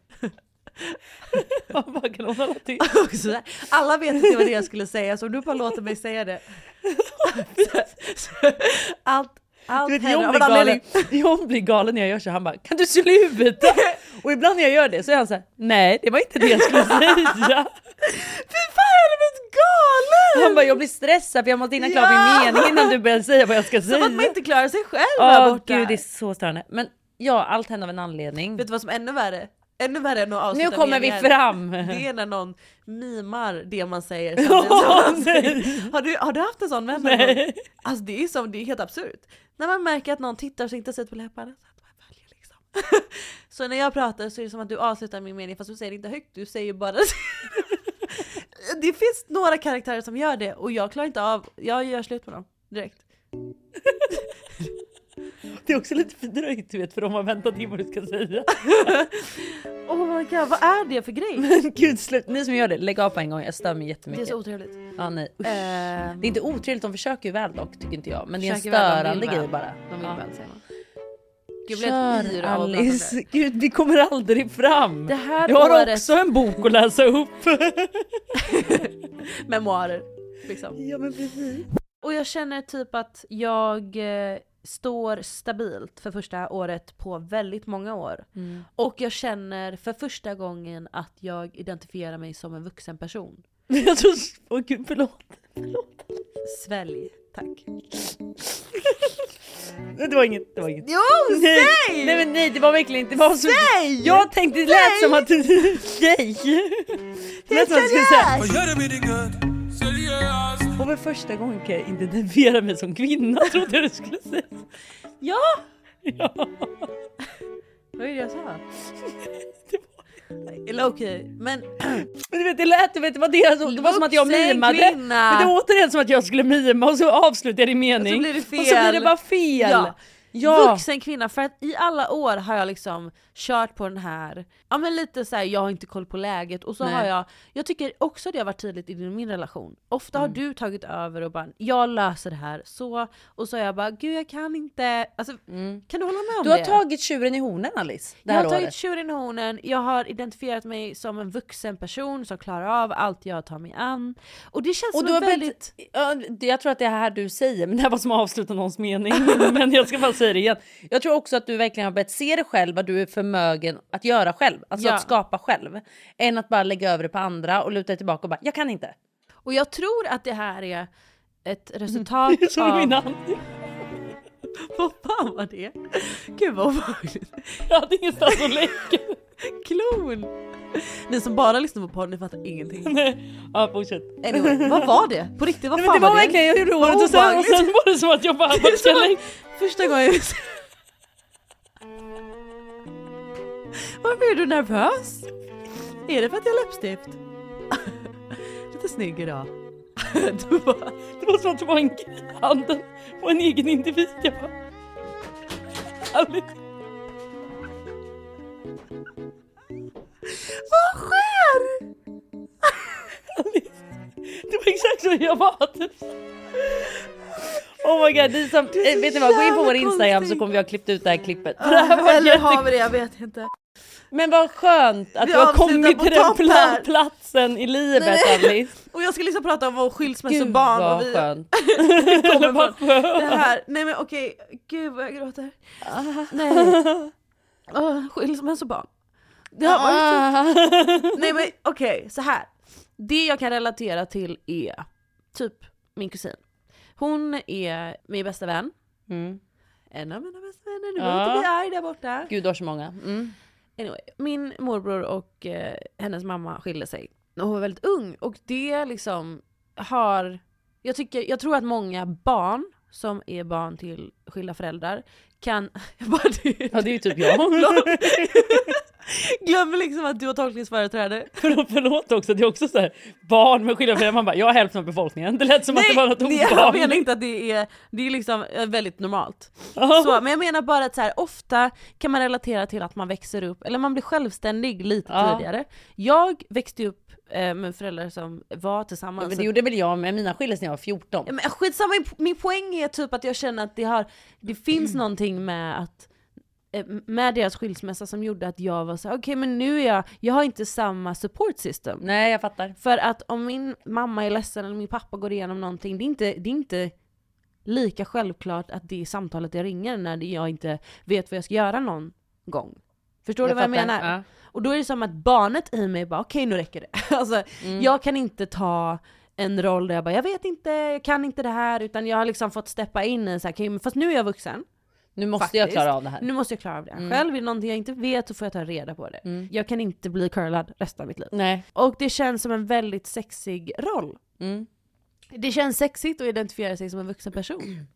Speaker 2: Vad fan kan hon hålla till? (laughs)
Speaker 1: Och så där. Alla vet inte vad det jag skulle säga så om du bara låter mig säga det. Allt,
Speaker 2: Du
Speaker 1: allt
Speaker 2: vet,
Speaker 1: händer av
Speaker 2: John,
Speaker 1: en
Speaker 2: blir galen,
Speaker 1: anledning.
Speaker 2: John blir galen när jag gör så. Han bara “kan du (laughs) sluta?” Och ibland när jag gör det så är han så här “nej, det var inte det jag (laughs) skulle säga”.
Speaker 1: Fy fan jag hade blivit galen!
Speaker 2: Han bara “jag blir stressad för jag måste hinna klart
Speaker 1: Ja.
Speaker 2: min mening innan du börjar säga vad jag ska
Speaker 1: Som
Speaker 2: säga”.
Speaker 1: att man inte klarar sig själv här
Speaker 2: Åh
Speaker 1: borta.
Speaker 2: gud det är så störande. Men ja, allt händer av en anledning.
Speaker 1: Vet du vad som är ännu värre? Ännu värre än att avsluta
Speaker 2: Nu kommer vi
Speaker 1: meningar.
Speaker 2: fram! (laughs)
Speaker 1: Det är när någon mimar det man säger
Speaker 2: Åh,
Speaker 1: samtidigt som man
Speaker 2: nej.
Speaker 1: säger. har, du, har du haft en sån vän någon gång?
Speaker 2: Nej.
Speaker 1: Alltså det är, som, det är helt absurt. När man märker att någon tittar så intensivt på läpparna. Så, att man följer liksom. (laughs) så när jag pratar så är det som att du avslutar min mening fast du säger det inte högt, du säger bara (laughs) Det finns några karaktärer som gör det och jag klarar inte av, jag gör slut med dem direkt. (laughs)
Speaker 2: Det är också lite fördröjt du vet för de har väntat in vad du
Speaker 1: (laughs)
Speaker 2: ska säga.
Speaker 1: Oh my god, vad är det för grej?
Speaker 2: (laughs) Men gud slut, ni som gör det lägg av på en gång, jag stör
Speaker 1: Det
Speaker 2: mig
Speaker 1: är
Speaker 2: jättemycket.
Speaker 1: så otrevligt.
Speaker 2: ja, nej. Usch.
Speaker 1: Ehm.
Speaker 2: Det är inte otrevligt, de försöker ju väl dock tycker inte jag. Men det är en
Speaker 1: Försöker väl, de
Speaker 2: störande
Speaker 1: vill väl.
Speaker 2: grej bara.
Speaker 1: De vill
Speaker 2: ja. (laughs)
Speaker 1: väl säger man. Jag blev helt yr av att prata om det.
Speaker 2: Alice, gud vi kommer aldrig fram.
Speaker 1: Det här
Speaker 2: jag har
Speaker 1: året-
Speaker 2: också en bok att läsa upp.
Speaker 1: (laughs) Memoarer. Liksom.
Speaker 2: Ja men precis.
Speaker 1: Och jag känner typ att jag eh, står stabilt för första året på väldigt många år.
Speaker 2: Mm.
Speaker 1: Och jag känner för första gången att jag identifierar mig som en vuxen person.
Speaker 2: Jag tror, åh gud förlåt.
Speaker 1: Svälj, tack.
Speaker 2: Nej, Det var inget, det var inget.
Speaker 1: Jo,
Speaker 2: nej.
Speaker 1: säg!
Speaker 2: Nej men nej det var verkligen inte, det var så...
Speaker 1: Säg!
Speaker 2: Jag tänkte det lät som att... Säg! Det lät som att du skulle säga...
Speaker 10: Vad gör du med din gött? Säljer oss.
Speaker 2: Och för första gången kan jag identifiera mig som kvinna (laughs) trodde jag du skulle säga.
Speaker 1: Ja!
Speaker 2: Ja.
Speaker 1: Vad är det jag sa? Eller okej, men...
Speaker 2: Men du vet det lät, du vet, det var, det, som- det var som att jag
Speaker 1: Vuxen
Speaker 2: mimade.
Speaker 1: kvinna.
Speaker 2: Men det var återigen som att jag skulle mima och så avslutade jag din mening.
Speaker 1: Och så blir det fel.
Speaker 2: Och så blir det bara fel.
Speaker 1: Ja.
Speaker 2: Ja.
Speaker 1: Vuxen kvinna, för att i alla år har jag liksom kört på den här, ja men lite såhär jag har inte koll på läget och så
Speaker 2: Nej.
Speaker 1: har jag, jag tycker också det har varit tydligt i min relation. Ofta
Speaker 2: Mm.
Speaker 1: har du tagit över och bara jag löser det här så, och så har jag bara gud jag kan inte, alltså, kan du hålla med om
Speaker 2: Mm. Du har
Speaker 1: det?
Speaker 2: tagit tjuren i hornen Alice. Det
Speaker 1: jag
Speaker 2: här
Speaker 1: har tagit
Speaker 2: året.
Speaker 1: tjuren i hornen, jag har identifierat mig som en vuxen person som klarar av allt jag tar mig an. Och det känns
Speaker 2: Och
Speaker 1: som
Speaker 2: du
Speaker 1: en
Speaker 2: har
Speaker 1: väldigt...
Speaker 2: väldigt... Jag tror att det är här du säger, men det här var som att avsluta någons mening. (laughs) men jag ska bara säga det igen. Jag tror också att du verkligen har börjat se dig själv, vad du är förmögen att göra själv. Alltså
Speaker 1: Ja.
Speaker 2: att skapa själv. Än att bara lägga över det på andra och luta dig tillbaka och bara, jag kan inte.
Speaker 1: Och jag tror att det här är
Speaker 2: (laughs)
Speaker 1: ett resultat
Speaker 2: Det är (laughs) som i
Speaker 1: av...
Speaker 2: mina
Speaker 1: Vad (laughs) fan var det? Gud vad
Speaker 2: (laughs)
Speaker 1: obehagligt.
Speaker 2: Jag hade ingenstans att lägga.
Speaker 1: Klon! Ni som bara lyssnar på podden ni fattar ingenting.
Speaker 2: Nej. Ja, fortsätt.
Speaker 1: Anyway, vad var det? På riktigt, vad
Speaker 2: Nej,
Speaker 1: fan
Speaker 2: men det var
Speaker 1: var det?
Speaker 2: verkligen, jag gjorde
Speaker 1: Vad
Speaker 2: året och sen, och
Speaker 1: obehagligt.
Speaker 2: sen var (laughs) det som att jag
Speaker 1: (laughs)
Speaker 2: bara,
Speaker 1: Det är
Speaker 2: vart ska jag
Speaker 1: som-
Speaker 2: lägga?
Speaker 1: Första gången jag... Varför är du nervös? Är det för att jag har läppstift? (laughs) Lite snygg idag.
Speaker 2: (laughs)
Speaker 1: Du bara,
Speaker 2: det var som att det var en handen på en egen individ. Jag bara... Alice.
Speaker 1: Vad sker?
Speaker 2: Alice. Det var exakt så jag var. Oh my god, ni som,
Speaker 1: Du är så
Speaker 2: eh, vet ni vad, gå in på vår
Speaker 1: jävla
Speaker 2: Instagram så
Speaker 1: konstig.
Speaker 2: kommer vi ha klippt ut det här klippet. För det här
Speaker 1: (laughs)
Speaker 2: var
Speaker 1: Eller har
Speaker 2: jätte-
Speaker 1: vi det? Jag vet inte.
Speaker 2: Men vad skönt att
Speaker 1: Vi
Speaker 2: du har
Speaker 1: avslutar
Speaker 2: kommit
Speaker 1: på
Speaker 2: till den
Speaker 1: topp här.
Speaker 2: pla- platsen i livet
Speaker 1: Nej.
Speaker 2: Alice.
Speaker 1: Och jag skulle liksom prata om vår
Speaker 2: Gud
Speaker 1: skilsmässobarn och
Speaker 2: vad
Speaker 1: vi
Speaker 2: skönt.
Speaker 1: (laughs) kommer
Speaker 2: Eller vad
Speaker 1: från det
Speaker 2: skönt.
Speaker 1: här. Nej men okej, gud vad jag gråter. Nej. Oh, skilsmässobarn. Det har
Speaker 2: Ah.
Speaker 1: varit så Nej men okej, så här. Det jag kan relatera till är typ min kusin. Hon är min bästa vän.
Speaker 2: Mm.
Speaker 1: En av mina bästa vänner, nu
Speaker 2: Ja.
Speaker 1: behöver jag inte bli arg där borta.
Speaker 2: Gud du har så många. Mm.
Speaker 1: Anyway, min morbror och eh, hennes mamma skilde sig när hon var väldigt ung. Och det liksom har... Jag, tycker, jag tror att många barn som är barn till skilda föräldrar kan... (laughs) Jag bara, det,
Speaker 2: Ja det är ju typ (laughs) jag.
Speaker 1: (laughs) glömmer liksom att du har tolkningsföreträde.
Speaker 2: Förlåt, förlåt också, det är också så här, barn med skilda föräldrar, man bara jag är hälften av befolkningen. Det lät som att det var något
Speaker 1: nej, jag menar
Speaker 2: obarn.
Speaker 1: inte att det är, det är liksom eh, väldigt normalt.
Speaker 2: Ja.
Speaker 1: Så, men jag menar bara att så här, ofta kan man relatera till att man växer upp, eller man blir självständig lite
Speaker 2: Ja.
Speaker 1: tidigare. Jag växte upp eh, med föräldrar som var
Speaker 2: Ja,
Speaker 1: tillsammans.
Speaker 2: men det gjorde väl jag med, mina skildes när jag var 14.
Speaker 1: Ja, men skitsamma, min, po- min poäng är typ att jag känner att det, har, det finns
Speaker 2: Mm.
Speaker 1: någonting med att eh, med deras skilsmässa som gjorde att jag var så här, okej men nu är jag, jag har inte samma support system.
Speaker 2: Nej jag fattar.
Speaker 1: För att om min mamma är ledsen eller min pappa går igenom någonting, det är inte, det är inte lika självklart att det är samtalet jag ringer när jag inte vet vad jag ska göra någon gång. Förstår du vad jag
Speaker 2: fattar.
Speaker 1: menar?
Speaker 2: Ja.
Speaker 1: Och då är det som att barnet i mig bara okej nu räcker det. (laughs) Alltså,
Speaker 2: Mm.
Speaker 1: Jag kan inte ta en roll där jag bara jag vet inte, jag kan inte det här utan jag har liksom fått steppa in i så här, okej, men fast nu är jag vuxen.
Speaker 2: Nu måste
Speaker 1: faktiskt.
Speaker 2: jag klara av det här.
Speaker 1: Nu måste jag klara av det här
Speaker 2: Mm.
Speaker 1: själv. Är det någonting jag inte vet så får jag ta reda på det.
Speaker 2: Mm.
Speaker 1: Jag kan inte bli curlad resten av mitt liv.
Speaker 2: Nej.
Speaker 1: Och det känns som en väldigt sexig roll.
Speaker 2: Mm.
Speaker 1: Det känns sexigt att identifiera sig som en vuxen
Speaker 2: (clears throat)
Speaker 1: person.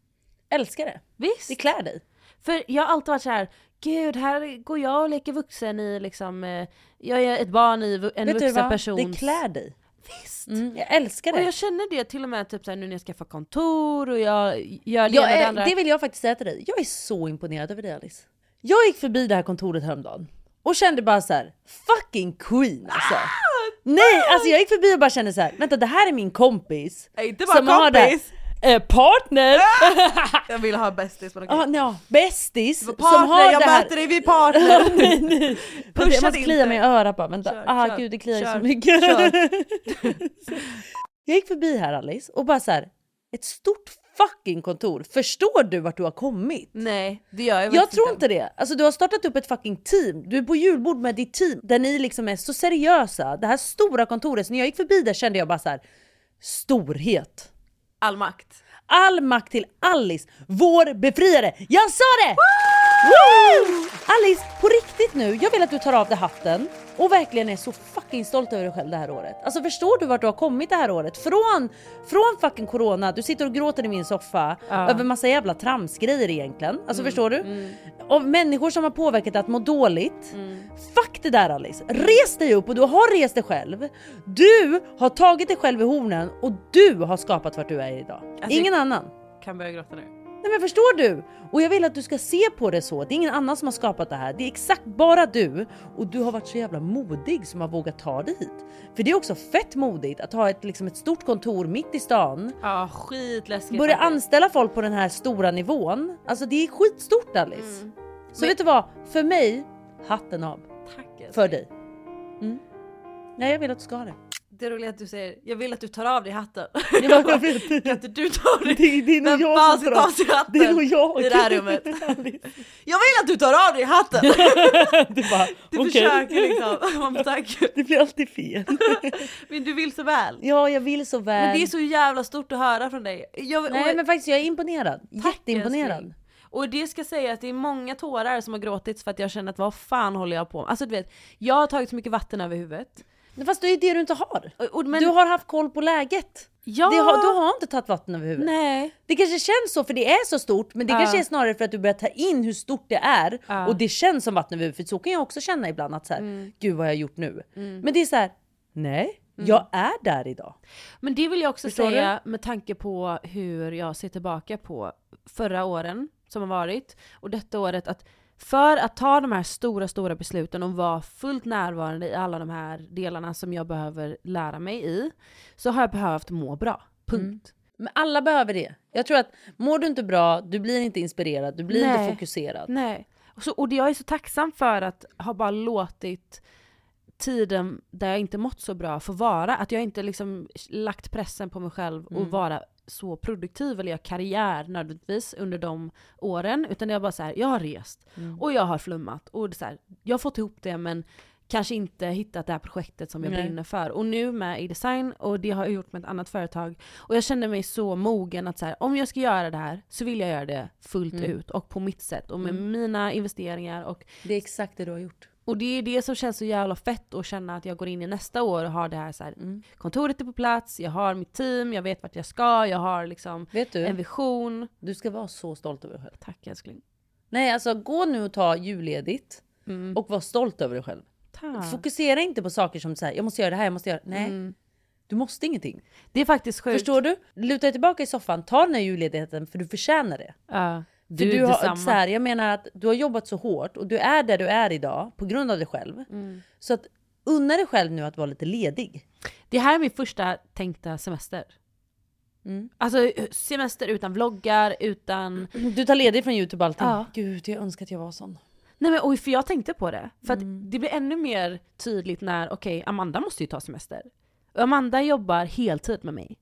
Speaker 2: Älskar det.
Speaker 1: Visst!
Speaker 2: Det klär dig.
Speaker 1: För jag har alltid varit så här. gud här går jag och leker vuxen i liksom, eh, jag är ett barn i vu- en
Speaker 2: Vet du
Speaker 1: vuxen
Speaker 2: vad?
Speaker 1: persons...
Speaker 2: Det klär dig.
Speaker 1: Visst!
Speaker 2: Mm. Jag älskar det.
Speaker 1: Och jag känner det till och med typ så här, nu när jag skaffar kontor och jag gör det
Speaker 2: Jag
Speaker 1: ena och det
Speaker 2: är,
Speaker 1: andra.
Speaker 2: det vill jag faktiskt säga till dig. Jag är så imponerad över dig Alice. Jag gick förbi det här kontoret häromdagen och kände bara så här: fucking queen alltså.
Speaker 1: Ah,
Speaker 2: Nej, alltså jag gick förbi och bara kände så här: vänta det här är min kompis.
Speaker 1: Nej, inte bara
Speaker 2: har det här-
Speaker 1: kompis. Ah!
Speaker 2: eh, partner!
Speaker 1: Jag vill ha bästis på
Speaker 2: Ja, ja, bästis
Speaker 1: partner,
Speaker 2: som har
Speaker 1: jag
Speaker 2: det här.
Speaker 1: möter dig vid partner.
Speaker 2: (laughs) nej, nej.
Speaker 1: Pusha
Speaker 2: jag måste
Speaker 1: det
Speaker 2: klia
Speaker 1: inte.
Speaker 2: mig i örat bara, vänta.
Speaker 1: Kör,
Speaker 2: ah,
Speaker 1: kör,
Speaker 2: gud det kliar
Speaker 1: kör,
Speaker 2: så mycket.
Speaker 1: kör.
Speaker 2: (laughs) jag gick förbi här Alice och bara så här, ett stort fucking kontor. Förstår du vart du har kommit?
Speaker 1: (laughs) Nej, det gör jag
Speaker 2: Jag
Speaker 1: faktiskt
Speaker 2: tror inte det. Alltså du har startat upp ett fucking team. Du är på julbord med ditt team där ni liksom är så seriösa. Det här stora kontoret, så när jag gick förbi där kände jag bara så här, storhet.
Speaker 1: All makt.
Speaker 2: All makt till Alice, vår befriare. Jag sa det! Woo! Alice, på riktigt nu, jag vill att du tar av dig hatten och verkligen är så fucking stolt över dig själv det här året. Alltså förstår du vart du har kommit det här året? Från, från fucking corona, du sitter och gråter i min soffa
Speaker 1: Ja.
Speaker 2: över massa jävla tramsgrejer egentligen. Alltså förstår du? Och människor som har påverkat att må dåligt. Fuck det där Alice! Res dig upp och du har rest dig själv. Du har tagit dig själv i hornen och du har skapat vart du är idag.
Speaker 1: Alltså,
Speaker 2: Ingen annan.
Speaker 1: Kan börja gråta nu.
Speaker 2: Nej men förstår du? Och jag vill att du ska se på det så. Det är ingen annan som har skapat det här. Det är exakt bara du. Och du har varit så jävla modig som har vågat ta dig hit. För det är också fett modigt att ha ett, liksom ett stort kontor mitt i stan.
Speaker 1: Ja, skitläskigt.
Speaker 2: Börja
Speaker 1: faktiskt.
Speaker 2: anställa folk på den här stora nivån. Alltså det är skitstort Alice. Så vet du vad? För mig, hatten av.
Speaker 1: Tack, alltså.
Speaker 2: För dig. Mm. Nej jag vill att du ska ha det.
Speaker 1: Det roliga är att du säger, jag vill att du tar av dig hatten. (laughs)
Speaker 2: Jag bara, vet.
Speaker 1: Kan inte du ta av dig?
Speaker 2: (laughs) Det, det är nog
Speaker 1: Vem
Speaker 2: jag
Speaker 1: fan
Speaker 2: som
Speaker 1: ska
Speaker 2: drar.
Speaker 1: ta sig hatten
Speaker 2: Det är nog (laughs) jag.
Speaker 1: i det här rummet?
Speaker 2: (laughs)
Speaker 1: Jag vill att du tar av dig hatten!
Speaker 2: Du bara,
Speaker 1: Du
Speaker 2: okej.
Speaker 1: försöker liksom. (laughs) Man bara, Tack.
Speaker 2: (laughs) Det blir alltid (laughs) fel.
Speaker 1: Men du vill så väl.
Speaker 2: Ja, jag vill så väl.
Speaker 1: Men det är så jävla stort att höra från dig. Jag,
Speaker 2: Nej
Speaker 1: och-
Speaker 2: men faktiskt jag är imponerad. Jätteimponerad.
Speaker 1: älskling. Och det ska säga att det är många tårar som har gråtits för att jag känner att vad fan håller jag på med? Alltså du vet, jag har tagit så mycket vatten över huvudet.
Speaker 2: Men Fast det är ju det du inte har.
Speaker 1: Och, men,
Speaker 2: Du har haft koll på läget.
Speaker 1: Ja.
Speaker 2: Det har, du har inte tagit vatten över huvudet.
Speaker 1: Nej.
Speaker 2: Det kanske känns så för det är så stort men det
Speaker 1: Ja.
Speaker 2: kanske är snarare för att du börjar ta in hur stort det är
Speaker 1: Ja.
Speaker 2: och det känns som vatten över huvudet. För så kan jag också känna ibland att så här, gud vad har jag gjort nu? Men det är så här, nej, jag är där idag.
Speaker 1: Men det vill jag också
Speaker 2: Förstår
Speaker 1: säga med tanke på hur jag ser tillbaka på förra åren som har varit och detta året att för att ta de här stora, stora besluten och vara fullt närvarande i alla de här delarna som jag behöver lära mig i, så har jag behövt må bra. Punkt.
Speaker 2: Men alla behöver det. Jag tror att mår du inte bra, du blir inte inspirerad, du blir
Speaker 1: Nej.
Speaker 2: inte fokuserad.
Speaker 1: Nej. Och, så, och det- jag är så tacksam för att ha bara låtit tiden där jag inte mått så bra få vara. Att jag inte liksom lagt pressen på mig själv och
Speaker 2: Mm.
Speaker 1: vara så produktiv eller göra karriär nödvändigtvis under de åren. Utan jag bara så här, jag har rest
Speaker 2: Mm.
Speaker 1: och jag har flummat. Och det är så här, jag har fått ihop det men kanske inte hittat det här projektet som jag
Speaker 2: Nej.
Speaker 1: brinner för. Och nu med i design och det har jag gjort med ett annat företag. Och jag känner mig så mogen att så här, om jag ska göra det här så vill jag göra det fullt
Speaker 2: Mm.
Speaker 1: ut och på mitt sätt och med
Speaker 2: Mm.
Speaker 1: mina investeringar. Och,
Speaker 2: Det är exakt det du har gjort.
Speaker 1: och det är det som känns så jävla fett att känna att jag går in i nästa år och har det här så här,
Speaker 2: Mm.
Speaker 1: kontoret är på plats, jag har mitt team, jag vet vart jag ska, jag har liksom
Speaker 2: Vet du?
Speaker 1: en vision.
Speaker 2: Du ska vara så stolt över dig själv.
Speaker 1: Tack älskling.
Speaker 2: Nej, alltså gå nu och ta julledigt
Speaker 1: Mm.
Speaker 2: och var stolt över dig själv.
Speaker 1: Tack.
Speaker 2: Fokusera inte på saker som säger jag måste göra det här, jag måste göra Nej,
Speaker 1: Mm.
Speaker 2: du måste ingenting.
Speaker 1: Det är faktiskt sjukt.
Speaker 2: Förstår du? Luta dig tillbaka i soffan, ta den här julledigheten för du förtjänar det.
Speaker 1: Ja.
Speaker 2: För
Speaker 1: Du,
Speaker 2: du,
Speaker 1: du
Speaker 2: har,
Speaker 1: detsamma.
Speaker 2: så här, jag menar att du har jobbat så hårt och du är där du är idag på grund av dig själv.
Speaker 1: Mm.
Speaker 2: Så att unna dig själv nu att vara lite ledig.
Speaker 1: Det här är min första tänkta semester.
Speaker 2: Mm. (clears throat)
Speaker 1: Alltså semester utan vloggar, utan...
Speaker 2: Du tar ledigt från Youtube och allting.
Speaker 1: Ja.
Speaker 2: Gud, jag önskar att jag var sån.
Speaker 1: Nej men oj, för jag tänkte på det. För att
Speaker 2: Mm.
Speaker 1: det blir ännu mer tydligt när, okej Amanda måste ju ta semester. Och Amanda jobbar heltid med mig.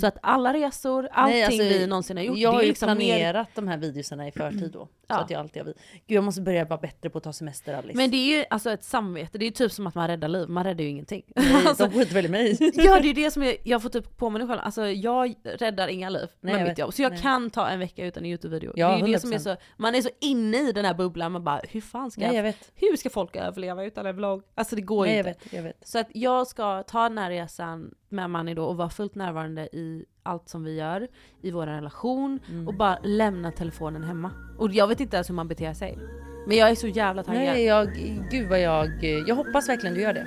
Speaker 1: Så att alla resor, allting
Speaker 2: Mm. Nej, alltså,
Speaker 1: vi någonsin har gjort,
Speaker 2: Jag har
Speaker 1: det
Speaker 2: ju
Speaker 1: är liksom mer...
Speaker 2: planerat de här videorna i förtid då.
Speaker 1: Ja.
Speaker 2: Så att jag alltid har vid... Gud jag måste börja vara bättre på att ta semester Alice.
Speaker 1: Men det är ju alltså ett samvete, det är ju typ som att man räddar liv, man räddar ju ingenting.
Speaker 2: (laughs)
Speaker 1: (laughs)
Speaker 2: Nej,
Speaker 1: alltså,
Speaker 2: de skiter väl i mig.
Speaker 1: ja det är det som jag, jag får typ påminna mig själv, alltså jag räddar inga liv
Speaker 2: Nej, jag
Speaker 1: med mitt
Speaker 2: vet.
Speaker 1: jobb. Så jag
Speaker 2: Nej.
Speaker 1: kan ta en vecka utan en Youtube-video.
Speaker 2: Ja,
Speaker 1: det är ju det som är
Speaker 2: 100%.
Speaker 1: så, man är så inne i den här bubblan, man bara hur fan ska
Speaker 2: (laughs) Nej, jag
Speaker 1: jag,
Speaker 2: vet.
Speaker 1: hur ska folk överleva utan en vlogg? Alltså det går
Speaker 2: Nej,
Speaker 1: ju
Speaker 2: jag
Speaker 1: inte.
Speaker 2: vet, jag vet.
Speaker 1: Så att jag ska ta den här resan med Manny då och vara fullt närvarande i allt som vi gör, i vår relation
Speaker 2: Mm.
Speaker 1: och bara lämna telefonen hemma. Och jag vet inte ens hur man beter sig. Men jag är så jävla taggad.
Speaker 2: Nej, jag, gud vad jag, jag hoppas verkligen du gör det.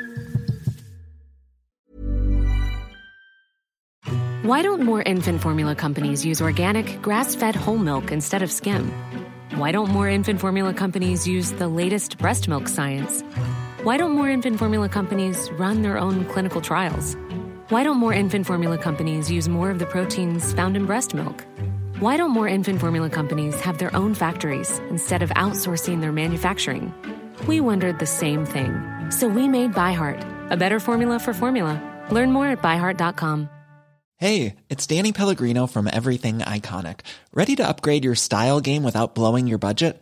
Speaker 11: Why don't more infant formula companies use organic, grass fed whole milk instead of skim? Why don't more infant formula companies use the latest breast milk science? Why don't more infant formula companies run their own clinical trials? Why don't more infant formula companies use more of the proteins found in breast milk? Why don't more infant formula companies have their own factories instead of outsourcing their manufacturing? We wondered the same thing. So we made ByHeart, a better formula for formula. Learn more at byheart.com.
Speaker 12: Hey, it's Danny Pellegrino from Everything Iconic. Ready to upgrade your style game without blowing your budget?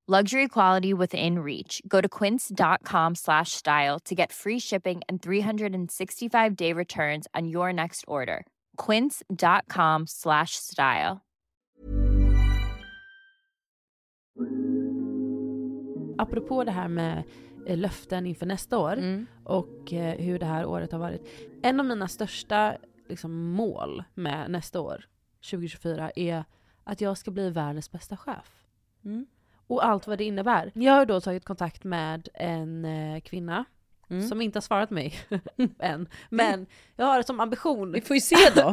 Speaker 6: Luxury quality within reach. Go to quince.com slash style to get free shipping and 365 day returns on your next order. Quince.com slash style.
Speaker 1: Apropå det här med eh, löften inför nästa år och eh, hur det här året har varit. En av mina största liksom, mål med nästa år, 2024, är att jag ska bli världens bästa chef.
Speaker 2: Mm.
Speaker 1: Och allt vad det innebär. Jag har då tagit kontakt med en eh, kvinna
Speaker 2: Mm.
Speaker 1: som inte har svarat mig (laughs)
Speaker 2: (laughs)
Speaker 1: än. Men jag har det som ambition. Vi
Speaker 2: får ju se då.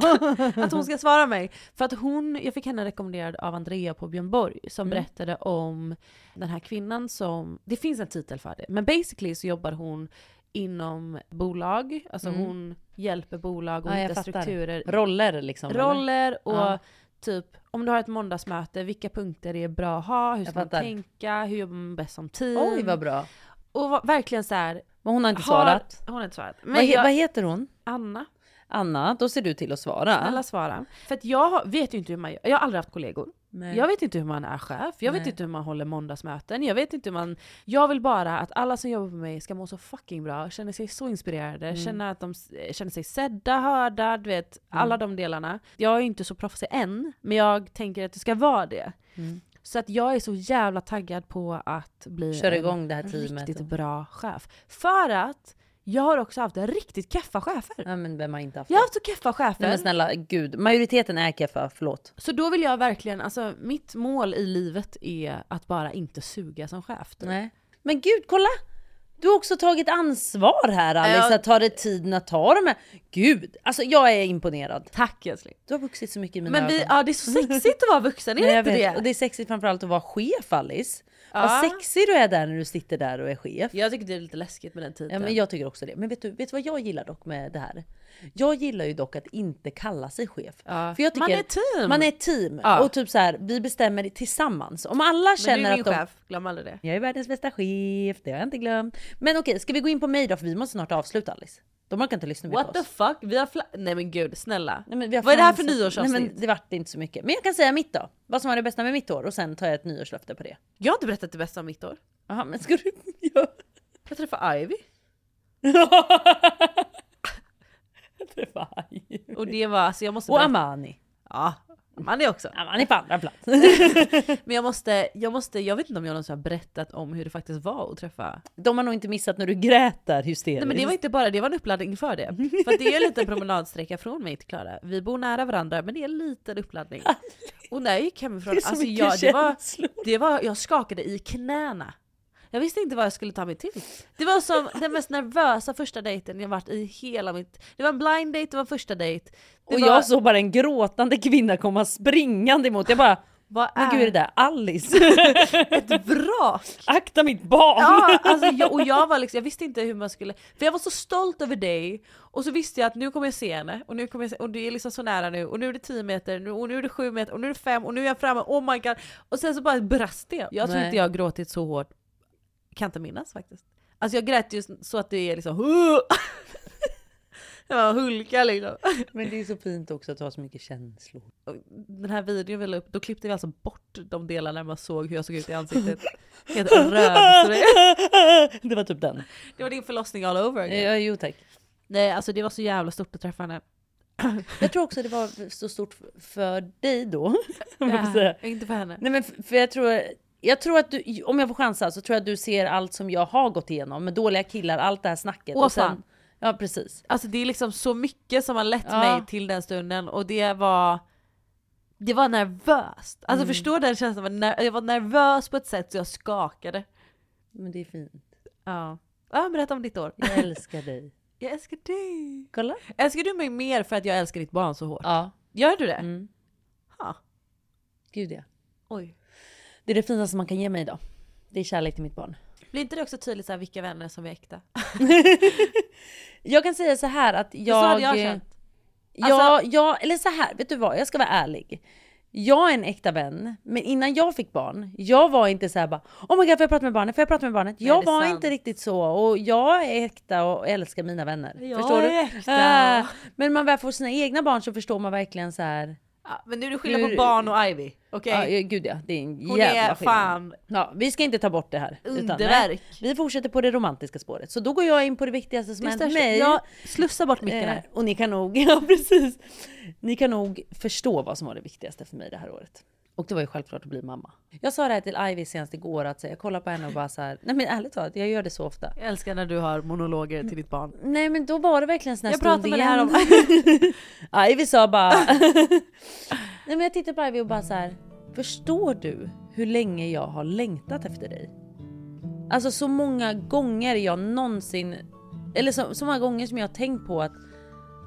Speaker 2: (laughs)
Speaker 1: att hon ska svara mig. För att hon, jag fick henne rekommenderad av Andrea på Björn Borg som
Speaker 2: Mm.
Speaker 1: berättade om den här kvinnan som, det finns en titel för det, men basically så jobbar hon inom bolag, alltså
Speaker 2: Mm.
Speaker 1: hon hjälper bolag och
Speaker 2: Ja, jag
Speaker 1: hittar
Speaker 2: fattar.
Speaker 1: strukturer.
Speaker 2: Roller liksom, eller?
Speaker 1: Roller och
Speaker 2: Ja.
Speaker 1: typ om du har ett måndagsmöte, vilka punkter är bra att ha, hur
Speaker 2: Jag
Speaker 1: ska man
Speaker 2: fattar.
Speaker 1: tänka, hur jobbar man bäst som team?
Speaker 2: Oj, vad bra.
Speaker 1: Och va- verkligen så här.
Speaker 2: Men hon har inte svarat.
Speaker 1: Hon har inte svarat.
Speaker 2: vad, he-
Speaker 1: jag-
Speaker 2: vad heter hon?
Speaker 1: Anna.
Speaker 2: Anna, då ser du till att svara.
Speaker 1: Snälla svara. För att jag har- vet ju inte hur man gör. Jag har aldrig haft kollegor.
Speaker 2: Nej.
Speaker 1: Jag vet inte hur man är chef, jag vet
Speaker 2: Nej.
Speaker 1: inte hur man håller måndagsmöten, jag vet inte hur man... Jag vill bara att alla som jobbar med mig ska må så fucking bra, känna sig så inspirerade,
Speaker 2: Mm.
Speaker 1: känna att de s- eh, känner sig sedda, hörda, du vet, alla de delarna. Jag är ju inte så proffsig än, men jag tänker att det ska vara det.
Speaker 2: Mm.
Speaker 1: Så att jag är så jävla taggad på att bli
Speaker 2: Kör
Speaker 1: en
Speaker 2: igång det här teamet.
Speaker 1: riktigt bra chef. För att jag har också haft riktigt keffa chefer.
Speaker 2: Ja, men vem har inte haft
Speaker 1: Jag har haft så keffa chefer.
Speaker 2: Nej men snälla gud, majoriteten är keffa, förlåt.
Speaker 1: Så då vill jag verkligen, alltså mitt mål i livet är att bara inte suga som chef. typ.
Speaker 2: Nej. Men gud, kolla! Du har också tagit ansvar här Alice,
Speaker 1: Ja.
Speaker 2: att ta dig tiden att ta de här. Gud, alltså jag är imponerad.
Speaker 1: Tack älskling.
Speaker 2: Du har vuxit så mycket i mina
Speaker 1: Men vi,
Speaker 2: ögon.
Speaker 1: ja, det är så sexigt att vara vuxen, är
Speaker 2: Nej,
Speaker 1: det
Speaker 2: jag
Speaker 1: inte
Speaker 2: vet.
Speaker 1: det?
Speaker 2: Och det är sexigt framförallt att vara chef Alice.
Speaker 1: Ja.
Speaker 2: Vad sexig du är där när du sitter där och är chef.
Speaker 1: Jag tycker det är lite läskigt med den titeln.
Speaker 2: Ja, men jag tycker också det. Men vet du, vet du vad jag gillar dock med det här? Jag gillar ju dock att inte kalla sig chef.
Speaker 1: Ja.
Speaker 2: För jag tycker,
Speaker 1: Man är ett team.
Speaker 2: Man är ett team.
Speaker 1: Ja.
Speaker 2: Och typ så här, vi bestämmer det tillsammans. Om alla
Speaker 1: men du
Speaker 2: känner
Speaker 1: är min
Speaker 2: att de...
Speaker 1: chef, glöm aldrig det.
Speaker 2: Jag är världens bästa chef, det har jag inte glömt. Men okej, ska vi gå in på mig då? För vi måste snart avsluta Alice. De orkar inte lyssna mer
Speaker 1: What
Speaker 2: på
Speaker 1: the
Speaker 2: oss.
Speaker 1: fuck? Vi har fla- Nej men gud, snälla.
Speaker 2: Nej, men vi har
Speaker 1: Vad är det här för
Speaker 2: fan-
Speaker 1: nyårsavsnitt?
Speaker 2: Nej, men det vart inte så mycket. Men jag kan säga mitt då. Vad som var det bästa med mitt år och sen tar jag ett nyårslöfte på det.
Speaker 1: Jag har inte berättat det bästa om mitt år.
Speaker 2: Jaha, men ska du... (laughs)
Speaker 1: Jag träffade Ivy.
Speaker 2: jag träffade Ivy.
Speaker 1: Och det var, alltså jag måste
Speaker 2: Och
Speaker 1: berätta-
Speaker 2: Amani.
Speaker 1: Ja, Amani också.
Speaker 2: Amani på andra plats.
Speaker 1: Men jag måste, jag måste, jag vet inte om jag någonsin har berättat om hur det faktiskt var att träffa
Speaker 2: (laughs) De har nog inte missat när du grät där hysteriskt.
Speaker 1: Nej men det var inte bara det, var en uppladdning för det. För att det är en liten promenadsträcka från mig till Klara. Vi bor nära varandra men det är en liten uppladdning. Och när jag gick hemifrån,
Speaker 2: Det är så
Speaker 1: alltså
Speaker 2: mycket
Speaker 1: jag, det var,
Speaker 2: känslor.
Speaker 1: det var, jag skakade i knäna. Jag visste inte vad jag skulle ta mig till. Det var som den mest nervösa första dejten jag varit i hela mitt... Det var en blind date, det var en första dejt. Det
Speaker 2: Och
Speaker 1: var,
Speaker 2: jag såg bara en gråtande kvinna komma springande emot. Jag bara,
Speaker 1: Vad
Speaker 2: men
Speaker 1: är-
Speaker 2: gud är det där
Speaker 1: (laughs)
Speaker 2: Alice?
Speaker 1: Ett vrak!
Speaker 2: Akta mitt barn!
Speaker 1: Ja, alltså jag, och jag var liksom, jag visste inte hur man skulle, för jag var så stolt över dig och så visste jag att nu kommer jag se henne och nu kommer jag se, och det är liksom så nära nu och nu är det 10 meter nu, och nu är det 7 meter och nu är det 5 och nu är jag framme, oh my god. Och sen så bara brast det. Jag tror
Speaker 2: Nej.
Speaker 1: inte jag har gråtit så hårt, kan inte minnas faktiskt. Alltså (laughs) jag grät ju så att det är liksom "Huh!" Ja, hulka liksom.
Speaker 2: Men det är så fint också att ha så
Speaker 1: (laughs)
Speaker 2: mycket känslor.
Speaker 1: Den här videon vi la upp, då klippte vi alltså bort de delarna man såg hur jag såg ut i ansiktet. Helt röd. så det-
Speaker 2: Det var typ den.
Speaker 1: Det var din förlossning all over again.
Speaker 2: Ja, jo tack.
Speaker 1: Nej alltså det var så jävla stort att träffa (laughs) henne.
Speaker 2: Jag tror också det var så stort för dig då. om jag får
Speaker 1: Ja,
Speaker 2: säga.
Speaker 1: Eh, inte för henne.
Speaker 2: Nej men f- för jag tror, jag tror att du, om jag får chansa så tror jag att du ser allt som jag har gått igenom med dåliga killar, allt det här snacket.
Speaker 1: Åh,
Speaker 2: och sen-
Speaker 1: fan.
Speaker 2: Ja precis.
Speaker 1: Alltså det är liksom så mycket som har lett
Speaker 2: Ja.
Speaker 1: mig till den stunden och det var det var nervöst. Alltså
Speaker 2: Mm.
Speaker 1: förstå den känslan, av när- jag var nervös på ett sätt så jag skakade.
Speaker 2: Men det är fint.
Speaker 1: Ja. ja berätta om ditt år.
Speaker 2: Jag
Speaker 1: (laughs)
Speaker 2: älskar dig.
Speaker 1: Jag älskar dig.
Speaker 2: Kolla.
Speaker 1: Älskar du mig mer för att jag älskar ditt barn så hårt?
Speaker 2: Ja.
Speaker 1: Gör du det?
Speaker 2: Mm.
Speaker 1: Ha.
Speaker 2: Gud ja.
Speaker 1: Oj.
Speaker 2: Det är det finaste man kan ge mig idag. Det är kärlek till mitt barn.
Speaker 1: Blir inte det också tydligt så här, vilka vänner som är äkta? (laughs)
Speaker 2: Jag kan säga så här att jag...
Speaker 1: hade jag känt. Alltså-
Speaker 2: Ja, ja, eller så här, vet du vad? Jag ska vara ärlig. Jag är en äkta vän, men innan jag fick barn, jag var inte så här bara Oh my god, får jag prata med barnet? Får jag prata med barnet?
Speaker 1: Nej,
Speaker 2: jag
Speaker 1: det är
Speaker 2: var
Speaker 1: sant.
Speaker 2: inte riktigt så och jag är äkta och älskar mina vänner.
Speaker 1: Jag
Speaker 2: förstår du?
Speaker 1: är äkta.
Speaker 2: Äh, men när man väl får sina egna barn så förstår man verkligen så här.
Speaker 1: Ja, men nu är det skillnad på barn och Ivy. Okej?
Speaker 2: Ja, ja, gud ja, det är en
Speaker 1: Hon
Speaker 2: jävla
Speaker 1: är
Speaker 2: skillnad.
Speaker 1: fan-
Speaker 2: Ja, vi ska inte ta bort det här. utan-
Speaker 1: Underverk.
Speaker 2: nej, vi fortsätter på det romantiska spåret. Så då går jag in på det viktigaste som
Speaker 1: Det
Speaker 2: hänt
Speaker 1: största-
Speaker 2: mig.
Speaker 1: Ja, slussa bort micken här.
Speaker 2: Eh, och ni kan nog, (laughs) ja precis. Ni kan nog förstå vad som var det viktigaste för mig det här året. Och det var ju självklart att bli mamma. Jag sa det här till Ivy senast igår att så här, jag kollar på henne och bara så här, nej men ärligt talat, jag gör det så ofta.
Speaker 1: Jag älskar när du har monologer till ditt barn.
Speaker 2: Nej men då var det verkligen sån här
Speaker 1: Jag pratar
Speaker 2: stund
Speaker 1: med det här (laughs) om...
Speaker 2: om... Ivy sa bara...
Speaker 1: Ah.
Speaker 2: (laughs) Nej men jag tittade på Ivy och bara så här. Förstår du hur länge jag har längtat efter dig? Alltså så många gånger jag någonsin... Eller så, så många gånger som jag har tänkt på att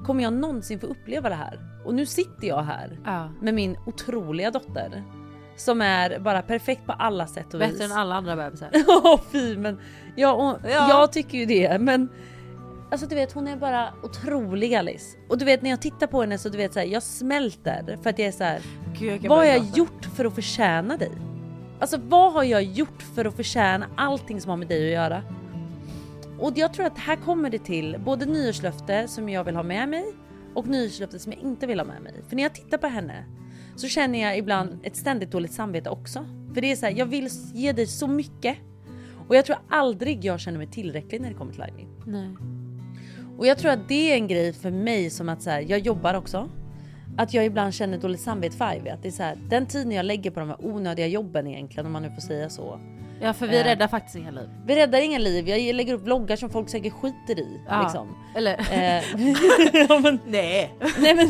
Speaker 2: kommer jag någonsin få uppleva det här? Och nu sitter jag här
Speaker 1: Ah.
Speaker 2: med min otroliga dotter. Som är bara perfekt på alla sätt och vis.
Speaker 1: Bättre än alla andra bebisar.
Speaker 2: (laughs) Ja fy men ja, och,
Speaker 1: Ja.
Speaker 2: jag tycker ju det men Alltså du vet hon är bara otrolig Alice. Och du vet när jag tittar på henne så du vet så här, jag smälter för att jag är så här.
Speaker 1: Gud, jag kan
Speaker 2: vad har
Speaker 1: börja
Speaker 2: jag
Speaker 1: gråta.
Speaker 2: gjort för att förtjäna dig? Alltså vad har jag gjort för att förtjäna allting som har med dig att göra? Och jag tror att här kommer det till både nyårslöfte som jag vill ha med mig och nyårslöfte som jag inte vill ha med mig. För när jag tittar på henne så känner jag ibland ett ständigt dåligt samvete också. För det är så här, jag vill ge dig så mycket och jag tror aldrig jag känner mig tillräcklig när det kommer till Ivy.
Speaker 1: Nej.
Speaker 2: Och jag tror att det är en grej för mig som att så här, jag jobbar också. Att jag ibland känner dåligt samvete för Ivy. Att det är så här, den tiden jag lägger på de här onödiga jobben egentligen om man nu får säga så.
Speaker 1: Ja för vi
Speaker 2: Eh,
Speaker 1: räddar faktiskt inga liv.
Speaker 2: Vi räddar inga liv, jag lägger upp vloggar som folk säkert skiter i.
Speaker 1: Ja.
Speaker 2: Liksom.
Speaker 1: Eller?
Speaker 2: Eh, (laughs) ja, men, (laughs)
Speaker 1: nej.
Speaker 2: nej men,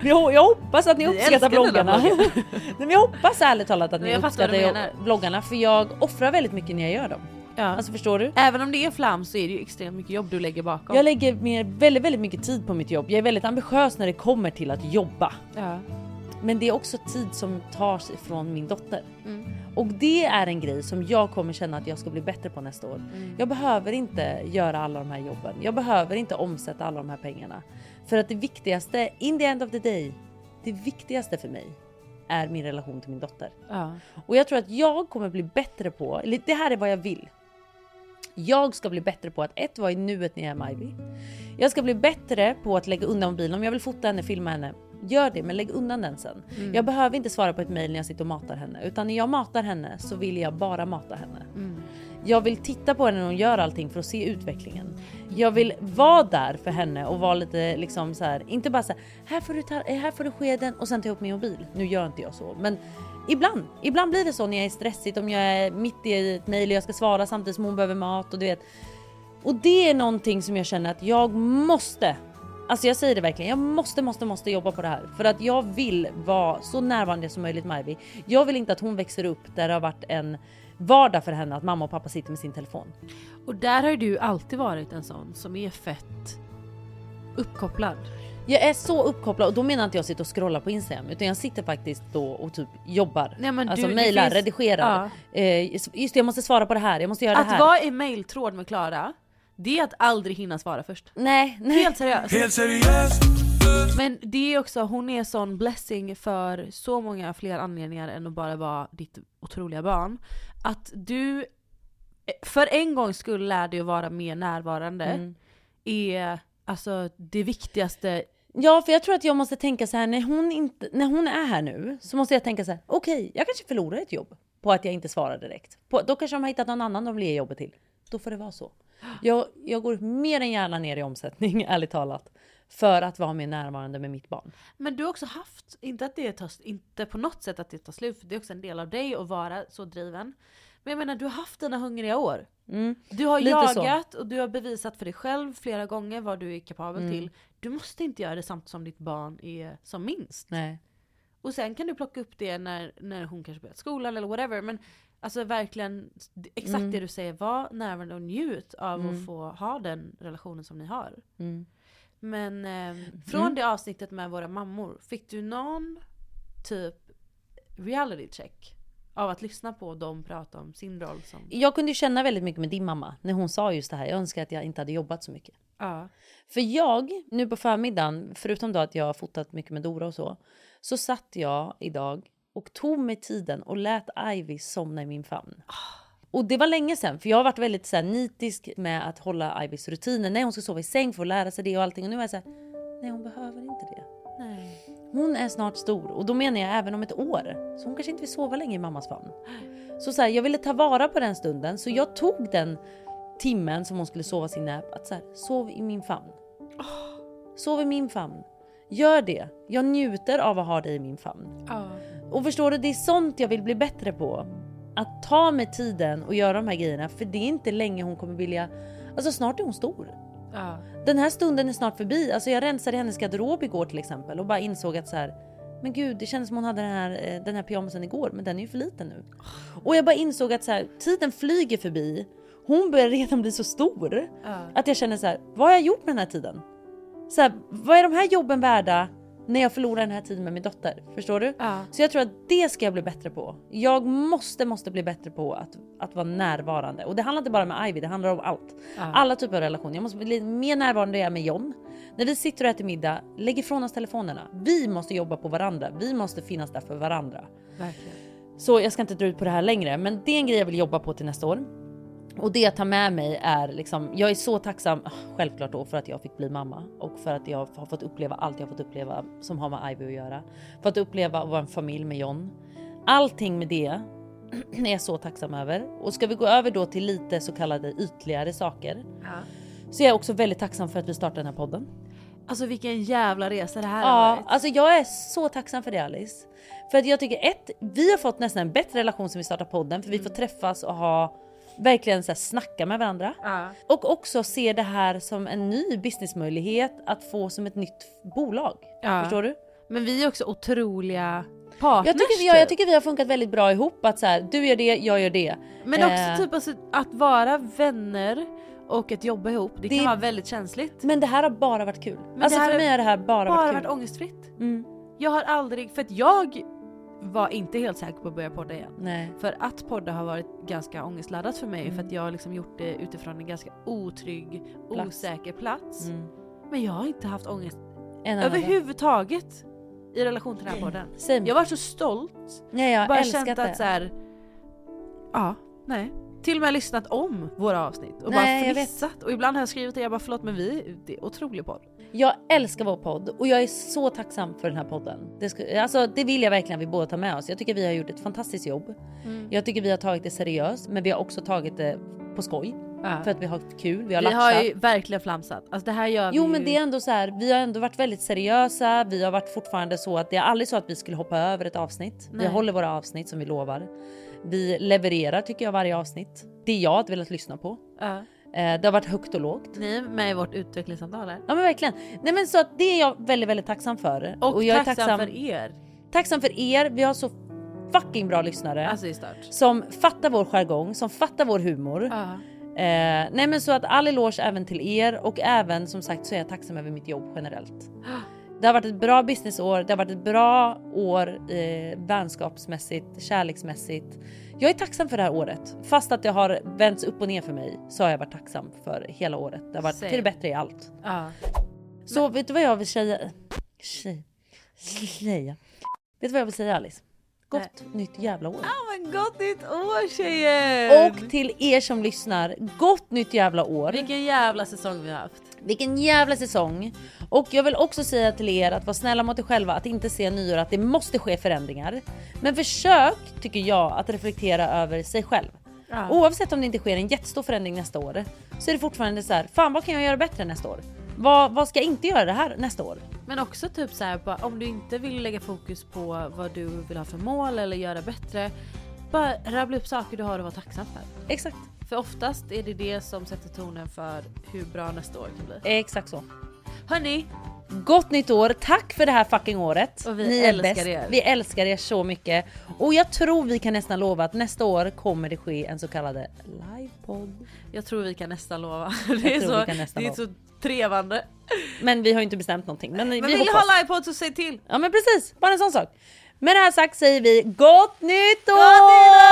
Speaker 2: vi ho- jag hoppas att ni
Speaker 1: Vi
Speaker 2: uppskattar
Speaker 1: älskar den här
Speaker 2: vloggarna. (laughs)
Speaker 1: vloggen.
Speaker 2: nej, men jag hoppas ärligt talat att
Speaker 1: Men
Speaker 2: ni
Speaker 1: jag fattar vad
Speaker 2: uppskattar
Speaker 1: du
Speaker 2: jag-
Speaker 1: menar.
Speaker 2: vloggarna för jag offrar väldigt mycket när jag gör dem.
Speaker 1: Ja.
Speaker 2: Alltså förstår du?
Speaker 1: Även om det är flam så är det ju extremt mycket jobb du lägger bakom.
Speaker 2: Jag lägger mer, väldigt, väldigt mycket tid på mitt jobb. Jag är väldigt ambitiös när det kommer till att jobba.
Speaker 1: Ja.
Speaker 2: Men det är också tid som tas ifrån min dotter.
Speaker 1: Mm.
Speaker 2: Och det är en grej som jag kommer känna att jag ska bli bättre på nästa år.
Speaker 1: Mm.
Speaker 2: Jag behöver inte göra alla de här jobben. Jag behöver inte omsätta alla de här pengarna. För att det viktigaste, in the end of the day, det viktigaste för mig är min relation till min dotter.
Speaker 1: Ja.
Speaker 2: Och jag tror att jag kommer bli bättre på, eller det här är vad jag vill. Jag ska bli bättre på att ett, vara i nuet när jag är med Ivy. Jag ska bli bättre på att lägga undan mobilen. Om jag vill fota henne, filma henne, gör det men lägg undan den sen.
Speaker 1: Mm.
Speaker 2: Jag behöver inte svara på ett mejl när jag sitter och matar henne. Utan när jag matar henne så vill jag bara mata henne.
Speaker 1: Mm.
Speaker 2: Jag vill titta på henne när hon gör allting för att se utvecklingen. Jag vill vara där för henne och vara lite liksom så här, inte bara så här, här får du, ta, eh, här får du skeden och sen ta upp min mobil. Nu gör inte jag så, men ibland, ibland blir det så när jag är stressigt, om jag är mitt i ett mejl och jag ska svara samtidigt som hon behöver mat och du vet. Och det är någonting som jag känner att jag måste, alltså jag säger det verkligen, jag måste, måste, måste jobba på det här. För att jag vill vara så närvarande som möjligt med Ivy. Jag vill inte att hon växer upp där det har varit en vardag för henne att mamma och pappa sitter med sin telefon.
Speaker 1: Och där har ju du alltid varit en sån som är fett uppkopplad.
Speaker 2: Jag är så uppkopplad och då menar inte jag sitter och scrollar på Instagram utan jag sitter faktiskt då och typ jobbar.
Speaker 1: Nej, men
Speaker 2: alltså
Speaker 1: du- det
Speaker 2: mejlar,
Speaker 1: finns-
Speaker 2: redigerar. Eh, just det, jag måste svara på det här, jag måste göra det
Speaker 1: Att
Speaker 2: här.
Speaker 1: vara i mejltråd med Klara, det är att aldrig hinna svara först.
Speaker 2: Nej, nej.
Speaker 1: Helt seriöst.
Speaker 10: Helt seriöst.
Speaker 1: Men det är också, hon är sån blessing för så många fler anledningar än att bara vara ditt otroliga barn. Att du för en gång skulle lär dig att vara mer närvarande
Speaker 2: Mm.
Speaker 1: är alltså det viktigaste
Speaker 2: Ja, för jag tror att jag måste tänka så här, när hon, inte, när hon är här nu så måste jag tänka så här, okej, jag kanske förlorar ett jobb på att jag inte svarar direkt. På, då kanske de har hittat någon annan de vill ge jobbet till. Då får det vara så. Jag, jag går mer än gärna ner i omsättning, (laughs) ärligt talat, för att vara mer närvarande med mitt barn.
Speaker 1: Men du har också haft, inte att det tar, inte på något sätt att det tar slut, för det är också en del av dig att vara så driven. Men jag menar du har haft dina hungriga år.
Speaker 2: Mm.
Speaker 1: Du har
Speaker 2: Lite
Speaker 1: jagat och du har bevisat för dig själv flera gånger vad du är kapabel
Speaker 2: Mm.
Speaker 1: till. Du måste inte göra det samtidigt som ditt barn är som minst.
Speaker 2: Nej.
Speaker 1: Och sen kan du plocka upp det när, när hon kanske börjat skolan eller whatever. Men alltså verkligen, exakt
Speaker 2: Mm.
Speaker 1: det du säger, var närvarande och njut av
Speaker 2: Mm.
Speaker 1: att få ha den relationen som ni har.
Speaker 2: Mm.
Speaker 1: Men eh, från
Speaker 2: Mm.
Speaker 1: det avsnittet med våra mammor, fick du någon typ reality check? Av att lyssna på dem prata om sin roll som...
Speaker 2: Jag kunde ju känna väldigt mycket med din mamma när hon sa just det här. Jag önskar att jag inte hade jobbat så mycket.
Speaker 1: Ja.
Speaker 2: För jag, nu på förmiddagen, förutom då att jag har fotat mycket med Dora och så, så satt jag idag och tog mig tiden och lät Ivy somna i min famn. Och det var länge sedan, för jag har varit väldigt så här, nitisk med att hålla Ivys rutiner. Nej, hon ska sova i säng för att lära sig det och allting. Och nu är jag så här, nej hon behöver inte det.
Speaker 1: Nej.
Speaker 2: Hon är snart stor och då menar jag även om ett år. Så hon kanske inte vill sova länge i mammas famn. Så, så här, jag ville ta vara på den stunden så jag tog den timmen som hon skulle sova sin nap att så här, sov i min famn. Sov i min famn. Gör det. Jag njuter av att ha dig i min famn. Och förstår du, det är sånt jag vill bli bättre på. Att ta mig tiden och göra de här grejerna för det är inte länge hon kommer vilja... Alltså snart är hon stor.
Speaker 1: Ja.
Speaker 2: Den här stunden är snart förbi. Alltså jag rensade hennes garderob igår till exempel och bara insåg att så här, men gud, det känns som hon hade den här, eh, den här pyjamasen igår, men den är ju för liten nu. Och jag bara insåg att så här, tiden flyger förbi. Hon börjar redan bli så stor
Speaker 1: Ja.
Speaker 2: att jag känner så här, vad har jag gjort med den här tiden? Så här, vad är de här jobben värda när jag förlorar den här tiden med min dotter? Förstår du? Så jag tror att det ska jag bli bättre på. Jag måste, måste bli bättre på att, att vara närvarande. Och det handlar inte bara med Ivy, det handlar om allt.
Speaker 1: Ja.
Speaker 2: Alla typer av relationer. Jag måste bli mer närvarande än jag är med John. När vi sitter och äter middag, lägg ifrån oss telefonerna. Vi måste jobba på varandra. Vi måste finnas där för varandra.
Speaker 1: Verkligen.
Speaker 2: Så jag ska inte dra ut på det här längre, men det är en grej jag vill jobba på till nästa år. Och det jag tar med mig är liksom, jag är så tacksam, ah, självklart då för att jag fick bli mamma och för att jag har fått uppleva allt jag har fått uppleva som har med Ivy att göra. För att uppleva att vara en familj med John. Allting med det (clears throat) är jag så tacksam över. Och ska vi gå över då till lite så kallade ytligare saker. Så jag är också väldigt tacksam för att vi startade den här podden.
Speaker 1: Alltså vilken jävla resa det här har
Speaker 2: Ja,
Speaker 1: varit.
Speaker 2: alltså jag är så tacksam för det Alice. För att jag tycker ett, vi har fått nästan en bättre relation som vi startar podden för vi
Speaker 1: Mm.
Speaker 2: får träffas och ha verkligen så här, snacka med varandra. Och också se det här som en ny businessmöjlighet att få som ett nytt bolag.
Speaker 1: Ja.
Speaker 2: Förstår du?
Speaker 1: Men vi är också otroliga partners. typ.
Speaker 2: Jag tycker, vi har, jag tycker vi har funkat väldigt bra ihop att så här, du gör det, jag gör det.
Speaker 1: Men
Speaker 2: Eh,
Speaker 1: också typ alltså, att vara vänner och att jobba ihop, det,
Speaker 2: Det-
Speaker 1: kan vara väldigt känsligt.
Speaker 2: Men det här har bara varit kul.
Speaker 1: Men
Speaker 2: alltså
Speaker 1: det här
Speaker 2: för
Speaker 1: har
Speaker 2: mig har det här bara,
Speaker 1: bara
Speaker 2: varit
Speaker 1: varit
Speaker 2: kul.
Speaker 1: ångestfritt.
Speaker 2: Mm.
Speaker 1: Jag har aldrig, för att jag var inte helt säker på att börja podda igen.
Speaker 2: Nej.
Speaker 1: För att podda har varit ganska ångestladdat för mig
Speaker 2: Mm.
Speaker 1: för att jag har liksom gjort det utifrån en ganska otrygg,
Speaker 2: Plats.
Speaker 1: osäker plats.
Speaker 2: Mm.
Speaker 1: Men jag har inte haft ångest
Speaker 2: En annan dag.
Speaker 1: överhuvudtaget i relation till den här
Speaker 2: Mm.
Speaker 1: podden.
Speaker 2: Same.
Speaker 1: Jag var så stolt.
Speaker 2: Nej, jag har
Speaker 1: Bara
Speaker 2: älskat
Speaker 1: känt
Speaker 2: det.
Speaker 1: att så här, ja, nej. Till och med lyssnat om våra avsnitt och
Speaker 2: Nej,
Speaker 1: bara
Speaker 2: jag vet.
Speaker 1: fnissat. Och ibland har jag skrivit det jag bara förlåt men vi, det är otrolig podd.
Speaker 2: Jag älskar vår podd och jag är så tacksam för den här podden. Det, sku, alltså, det vill jag verkligen att vi båda tar med oss. Jag tycker vi har gjort ett fantastiskt jobb.
Speaker 1: Mm.
Speaker 2: Jag tycker vi har tagit det seriöst, men vi har också tagit det på skoj.
Speaker 1: Ja.
Speaker 2: För att vi har haft kul, vi
Speaker 1: Vi
Speaker 2: har
Speaker 1: har,
Speaker 2: lattjat.
Speaker 1: ju verkligen flamsat. Alltså det här gör vi
Speaker 2: Jo
Speaker 1: ju-
Speaker 2: men det är ändå så här, vi har ändå varit väldigt seriösa, vi har varit fortfarande så att det är aldrig så att vi skulle hoppa över ett avsnitt.
Speaker 1: Nej.
Speaker 2: Vi håller våra avsnitt som vi lovar. Vi levererar tycker jag varje avsnitt. Det jag har velat lyssna på.
Speaker 1: Ja.
Speaker 2: Eh, Det har varit högt och lågt.
Speaker 1: Ni är med i vårt utvecklingssamtal här.
Speaker 2: Ja men verkligen. Nej men så att det är jag väldigt väldigt tacksam för.
Speaker 1: Och,
Speaker 2: jag är
Speaker 1: tacksam, för er.
Speaker 2: tacksam för er. Vi har så fucking bra lyssnare.
Speaker 1: Alltså det är stört.
Speaker 2: som fattar vår jargong, som fattar vår humor. Eh, nej men så att all eloge även till er och även som sagt så är jag tacksam över mitt jobb generellt. Det har varit ett bra businessår, det har varit ett bra år eh, vänskapsmässigt, kärleksmässigt. Jag är tacksam för det här året. Fast att det har vänts upp och ner för mig så har jag varit tacksam för hela året. Det har varit
Speaker 1: Same.
Speaker 2: till det bättre i allt.
Speaker 1: Ja.
Speaker 2: Så vet du vad jag vill säga? Tjej. Tjeja. Vet du vad jag vill säga Alice? Gott nytt jävla år!
Speaker 1: Ja men gott nytt år tjejer!
Speaker 2: Och till er som lyssnar, gott nytt jävla år!
Speaker 1: Vilken jävla säsong vi har haft!
Speaker 2: Vilken jävla säsong! Och jag vill också säga till er att vara snälla mot er själva, att inte se nyår, att det måste ske förändringar. Men försök, tycker jag, att reflektera över sig själv.
Speaker 1: Ja.
Speaker 2: Oavsett om det inte sker en jättestor förändring nästa år så är det fortfarande så här, fan vad kan jag göra bättre nästa år? Vad, vad ska jag inte göra det här nästa år?
Speaker 1: Men också typ så här, bara, om du inte vill lägga fokus på vad du vill ha för mål eller göra bättre. Bara rabbla upp saker du har att vara tacksam för.
Speaker 2: Exakt.
Speaker 1: För oftast är det det som sätter tonen för hur bra nästa år kan bli.
Speaker 2: Exakt så.
Speaker 1: Hörni,
Speaker 2: Gott nytt år! Tack för det här fucking året!
Speaker 1: Och vi
Speaker 2: Ni är
Speaker 1: älskar
Speaker 2: bäst.
Speaker 1: er.
Speaker 2: Vi älskar er så mycket. Och jag tror vi kan nästan lova att nästa år kommer det ske en så kallad livepodd.
Speaker 1: Jag tror vi kan nästan lova. (laughs)
Speaker 2: Jag
Speaker 1: Det är,
Speaker 2: tror vi
Speaker 1: så,
Speaker 2: kan nästan
Speaker 1: det är
Speaker 2: lova.
Speaker 1: så trevande.
Speaker 2: Men vi har ju inte bestämt någonting. Men,
Speaker 1: Men
Speaker 2: vi
Speaker 1: vill ni
Speaker 2: hoppas.
Speaker 1: ha livepodd så säg till!
Speaker 2: Ja men precis, bara en sån sak. Med det här sagt säger vi gott nytt år!
Speaker 1: Gott nytt Eh,